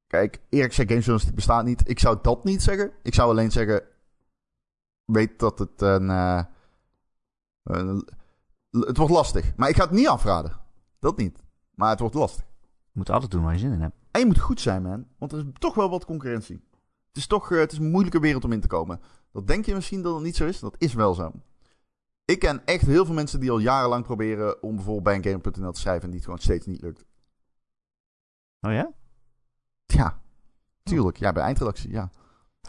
B: Kijk, Erik zegt game journalistiek bestaat niet. Ik zou dat niet zeggen. Ik zou alleen zeggen... Weet dat het een... eh, een- het wordt lastig. Maar ik ga het niet afraden. Dat niet. Maar het wordt lastig.
A: Je moet altijd doen waar je zin in hebt.
B: En je moet goed zijn, man. Want er is toch wel wat concurrentie. Het is toch eh, het is een moeilijke wereld om in te komen. Dat denk je misschien dat het niet zo is. Dat is wel zo. Ik ken echt heel veel mensen die al jarenlang proberen om bijvoorbeeld bij een gamer.nl te schrijven en die het gewoon steeds niet lukt.
A: Oh ja?
B: Ja, tuurlijk. Ja, bij eindredactie, ja.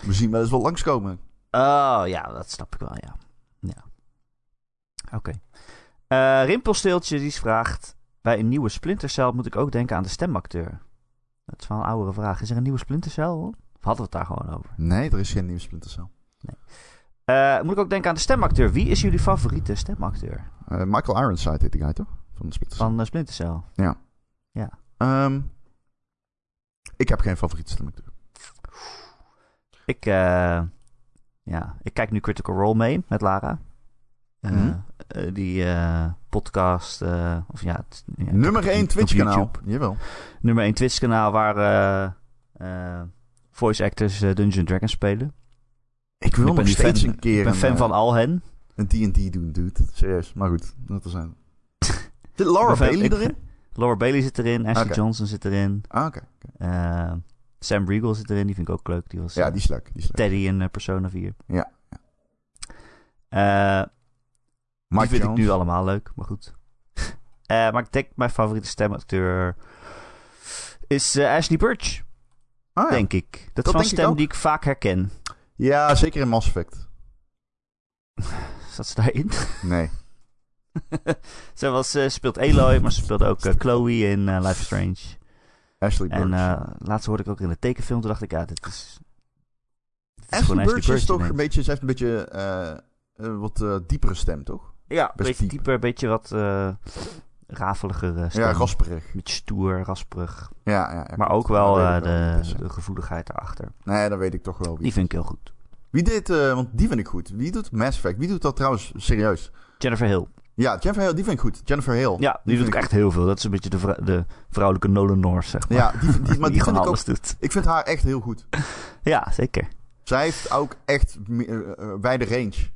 B: We zien wel eens wel langskomen.
A: Oh ja, dat snap ik wel, ja. ja. Oké. Eh, Rimpelsteeltje die vraagt... Bij een nieuwe Splinter Cell moet ik ook denken aan de stemacteur. Dat is wel een oudere vraag. Is er een nieuwe Splinter Cell? Hoor? Of hadden we het daar gewoon over?
B: Nee, er is geen nieuwe Splinter Cell.
A: Eh, moet ik ook denken aan de stemacteur. Wie is jullie favoriete stemacteur
B: Eh, Michael Ironside heet die guy, toch? Van de Splinter Cell.
A: van eh, Splinter Cell?
B: Ehm, ik heb geen favoriete stemacteur.
A: Ik, eh, ja, ik kijk nu Critical Role mee met Lara. Eh,
B: Mhm.
A: eh, die eh, podcast, eh, of ja, het- ja,
B: Nummer
A: op-
B: 1
A: op
B: Twitch kanaal.
A: YouTube.
B: Jawel.
A: Nummer 1 Twitch kanaal waar eh, eh, voice actors eh, Dungeons Dragons spelen.
B: Ik wil
A: Ik ben
B: nog
A: nu
B: steeds
A: fan.
B: een keer
A: Ik ben
B: een,
A: fan
B: eh,
A: van al hen.
B: een D&D doen, dude. Serieus, maar goed, dat er zijn. Zit Laura
A: Ik ben fan-
B: Bailey
A: ik-
B: erin?
A: Laura Bailey zit erin, Ashley
B: Oké.
A: Johnson zit erin.
B: Ah, oké. oké.
A: eh, Sam Riegel zit erin, die vind ik ook leuk. Die was
B: Ja,
A: eh,
B: die is leuk. Die is leuk.
A: Teddy in eh, Persona 4.
B: Ja.
A: Eh,
B: Mike
A: die vind
B: Jones.
A: ik nu allemaal leuk, maar goed. Eh, maar ik denk mijn favoriete stemacteur is eh, Ashley Burch,
B: Ah, ja.
A: denk ik. Dat, is
B: denk
A: wel
B: ik
A: een stem
B: ook.
A: die ik vaak herken.
B: ja, zeker in Mass Effect.
A: Zat ze daarin?
B: Nee.
A: ze was, eh, speelt Aloy, maar ze speelde ook eh, Chloe in eh, Life is Strange.
B: Ashley Burch.
A: En eh laatst hoorde ik ook in de tekenfilm, toen dacht ik, ja, dit is... dit is gewoon
B: Ashley Burch is toch
A: ineens.
B: een beetje, ze heeft een beetje eh, een wat eh, diepere stem, toch?
A: Ja, een
B: best
A: beetje
B: diep.
A: dieper, een beetje wat eh rafeliger eh, stem.
B: Ja, rasperig.
A: Beetje stoer, rasperig.
B: Ja, ja, ja,
A: Maar
B: klopt.
A: ook wel
B: Dat weet
A: eh,
B: ik wel wie het
A: de,
B: is, ja.
A: de gevoeligheid daarachter.
B: Nee, dat weet ik toch wel
A: Die
B: wie.
A: vind ik heel goed.
B: Wie deed, eh, want die vind ik goed. Wie doet Mass Effect? Wie doet dat trouwens serieus?
A: Jennifer Hill.
B: Ja, Jennifer Hale, die vind ik goed. Jennifer Hale.
A: Ja, die doet ook echt heel veel. Dat is een beetje de, vrou- de vrouwelijke Nolan North, zeg maar.
B: Ja, die, vind- die, maar die, vind
A: gewoon
B: ik ook...
A: alles doet.
B: Ik vind haar echt heel goed.
A: Ja, zeker.
B: Zij heeft ook echt me- eh, eh, wijde range. Vind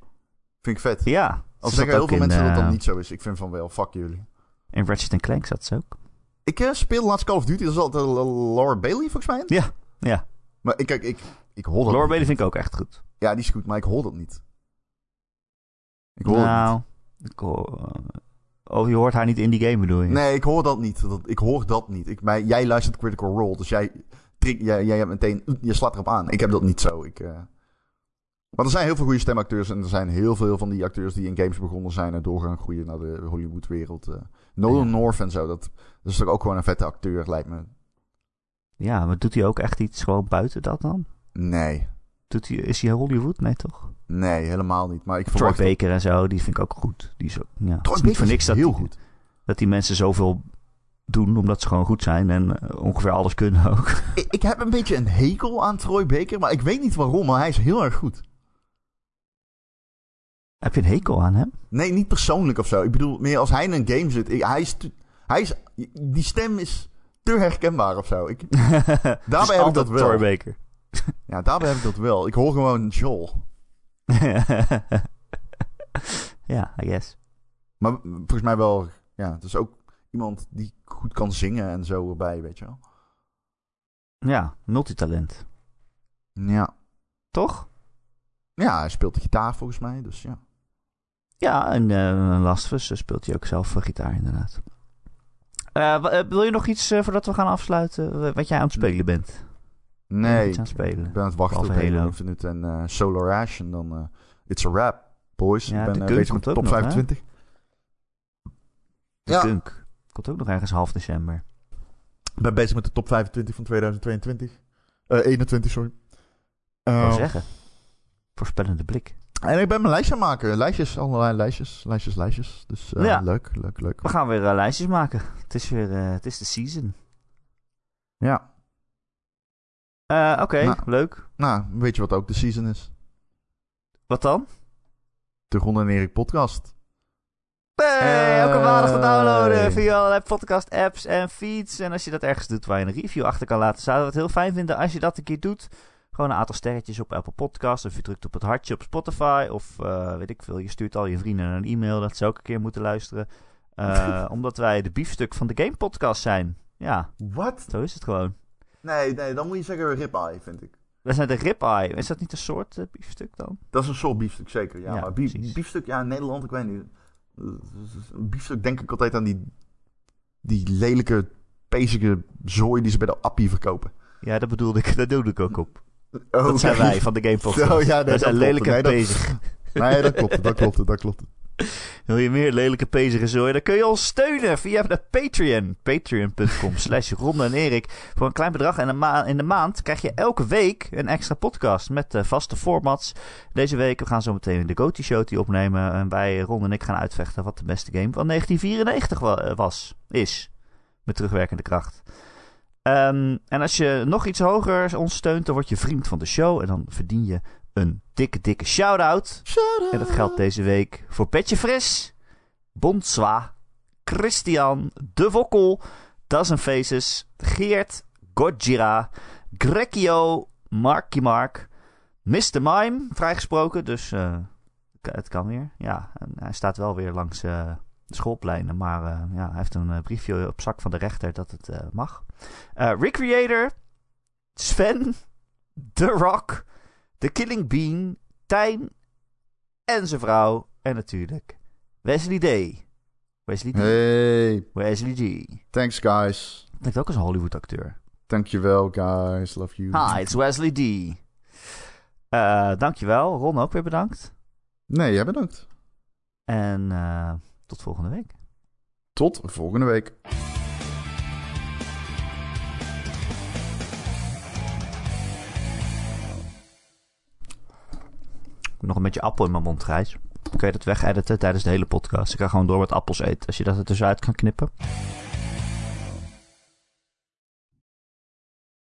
B: ik vet.
A: Ja.
B: Al
A: Ze zat
B: zeggen heel
A: ook
B: veel
A: in,
B: mensen dat dat
A: eh,
B: niet zo is. Ik vind van wel, fuck jullie.
A: In Ratchet Clank zat ze ook.
B: Ik eh, speel laatst Call of Duty, dat is altijd eh, Laura Bailey volgens mij.
A: Ja, ja.
B: Maar ik, kijk, ik, ik hoor dat
A: Laura
B: niet.
A: Bailey vind ik ook echt goed.
B: Ja, die is goed, maar ik hoor dat niet. Ik hoor dat
A: nou, ik hoor... eh, Oh, je hoort haar niet in die game, bedoel je?
B: niet. Nee, ik hoor dat niet. Dat, ik hoor dat niet. Ik, mij- jij luistert Critical Role, dus jij, trink- jij, jij hebt meteen, je slaat erop aan. Ik heb dat niet zo. Ik, eh. Maar er zijn heel veel goede stemacteurs en er zijn heel veel van die acteurs die in games begonnen zijn en doorgaan groeien naar de Hollywoodwereld. eh. Nolan
A: Ja.
B: North en zo, dat, dat is toch ook gewoon een vette acteur, lijkt me.
A: Ja, maar doet hij ook echt iets gewoon buiten dat dan?
B: Nee,
A: Doet hij, is hij Hollywood? Nee, toch?
B: nee, helemaal niet. Maar ik
A: Troy
B: verwacht...
A: Baker en zo, die vind ik ook goed. Die is, ook- ja. Het
B: Troy
A: is
B: Baker
A: niet voor niks dat,
B: heel
A: die,
B: goed.
A: dat die mensen zoveel doen, omdat ze gewoon goed zijn en eh, ongeveer alles kunnen ook.
B: Ik, ik heb een beetje een hekel aan Troy Baker, maar ik weet niet waarom, maar hij is heel erg goed.
A: Heb je een hekel aan hem?
B: Nee, niet persoonlijk of zo. Ik bedoel, meer als hij in een game zit. ik- hij is te- hij is, die stem is te herkenbaar of zo. Ik,
A: Dus
B: heb ik
A: altijd
B: dat wel.
A: Troy Baker.
B: ja, daarbij heb ik dat wel. Ik hoor gewoon Joel.
A: ja, I guess.
B: Maar mm, volgens mij wel, ja, het is ook iemand die goed kan zingen en zo erbij, weet je wel.
A: Ja, multitalent.
B: Ja.
A: Toch?
B: Ja, hij speelt de gitaar volgens mij, dus ja.
A: Ja, en eh Last of Us eh, speelt hij ook zelf eh, gitaar inderdaad. Eh, wa- eh, wil je nog iets eh, voordat we gaan afsluiten? wa- Wat jij aan het spelen bent?
B: Nee,
A: Iets aan spelen.
B: ik ben aan het wachten op
A: Behalve Halo.
B: Halo Infinite en eh, Solar Ash en dan eh, It's a Wrap, boys.
A: Ja,
B: ik
A: de
B: ben eh,
A: Gun
B: bezig
A: komt
B: met de
A: ook
B: top
A: nog, hè?
B: 25.
A: De
B: Ja.
A: Dunk. Komt ook nog ergens half december.
B: Ik ben bezig met de top 25 van 2022. Eh 21, sorry.
A: Ik
B: Eh,
A: wou zeggen. Voorspellende blik.
B: en ik ben mijn lijstje aan het maken. Lijstjes, allerlei lijstjes, lijstjes, lijstjes. Dus eh,
A: Ja.
B: leuk, leuk, leuk.
A: We gaan weer eh, lijstjes maken. Het is weer eh, het is de season.
B: Ja,
A: Eh, Oké,
B: Nou.
A: leuk.
B: nou, weet je wat ook de season is?
A: Wat dan?
B: De Ron en Erik podcast.
A: Hey, elke
B: Hey.
A: maandag te downloaden via allerlei podcast apps en feeds. En als je dat ergens doet waar je een review achter kan laten, zouden we het heel fijn vinden als je dat een keer doet. Gewoon een aantal sterretjes op Apple Podcasts. Of je drukt op het hartje op Spotify. Of eh, weet ik veel, je stuurt al je vrienden een e-mail dat ze ook een keer moeten luisteren. Eh, omdat wij de biefstuk van de Game Podcast zijn. Ja,
B: Wat?
A: zo is het gewoon.
B: Nee, nee, dan moet je zeggen ribeye, vind ik.
A: We zijn de ribeye. Is dat niet een soort eh, biefstuk dan?
B: Dat is een soort biefstuk, zeker. Ja,
A: Ja,
B: maar bief-
A: precies.
B: biefstuk, ja, in Nederland, ik weet niet. Eh, Een biefstuk denk ik altijd aan die, die lelijke, pezige zooi die ze bij de appie verkopen.
A: Ja, dat bedoelde ik. Dat doe ik ook op.
B: Oh,
A: Dat zijn wij van de Game Podcast.
B: Zo, ja, nee,
A: wij
B: dat
A: zijn
B: klopt.
A: lelijk en
B: Nee, dat-
A: bezig.
B: Nee, dat klopt, dat klopt, dat klopt.
A: Wil je meer lelijke pezige zooi? Dan kun je ons steunen via de Patreon. Patreon.com slash Ron en Erik. Voor een klein bedrag en een ma- in de maand krijg je elke week een extra podcast met eh, vaste formats. Deze week, we gaan zo meteen de Goaty Show die opnemen. En wij, Ron en ik, gaan uitvechten wat de beste game van 1994 wa- eh, was. Is. Met terugwerkende kracht. Ehm, en als je nog iets hoger ons steunt, dan word je vriend van de show. En dan verdien je een dikke, dikke shout-out. En dat geldt deze week voor Petje Fris, Bontswa, Christian, De Wokkel, Dozen Faces, Geert, Gojira, Grekio, Marky Mark, Mr. Mime, vrijgesproken. Dus eh, k- het kan weer. Ja, en hij staat wel weer langs eh, de schoolpleinen. Maar eh, ja, hij heeft een eh, briefje op zak van de rechter dat het eh, mag. Eh Recreator, Sven, The Rock, The Killing Bean, Tijn en zijn vrouw. En natuurlijk Wesley D. Wesley D.
B: Hey,
A: Wesley G.
B: thanks guys.
A: Klinkt ook als een Hollywood acteur.
B: Dankjewel guys, love you.
A: Hi, it's Wesley D. Eh, dankjewel. Ron ook weer bedankt.
B: Nee, jij bedankt.
A: En eh, tot volgende week.
B: Tot volgende week.
A: Nog een beetje appel in mijn mond, Gijs. Kun je dat wegediten tijdens de hele podcast? Ik ga gewoon door met appels eten. Als je dat er tussenuit kan knippen.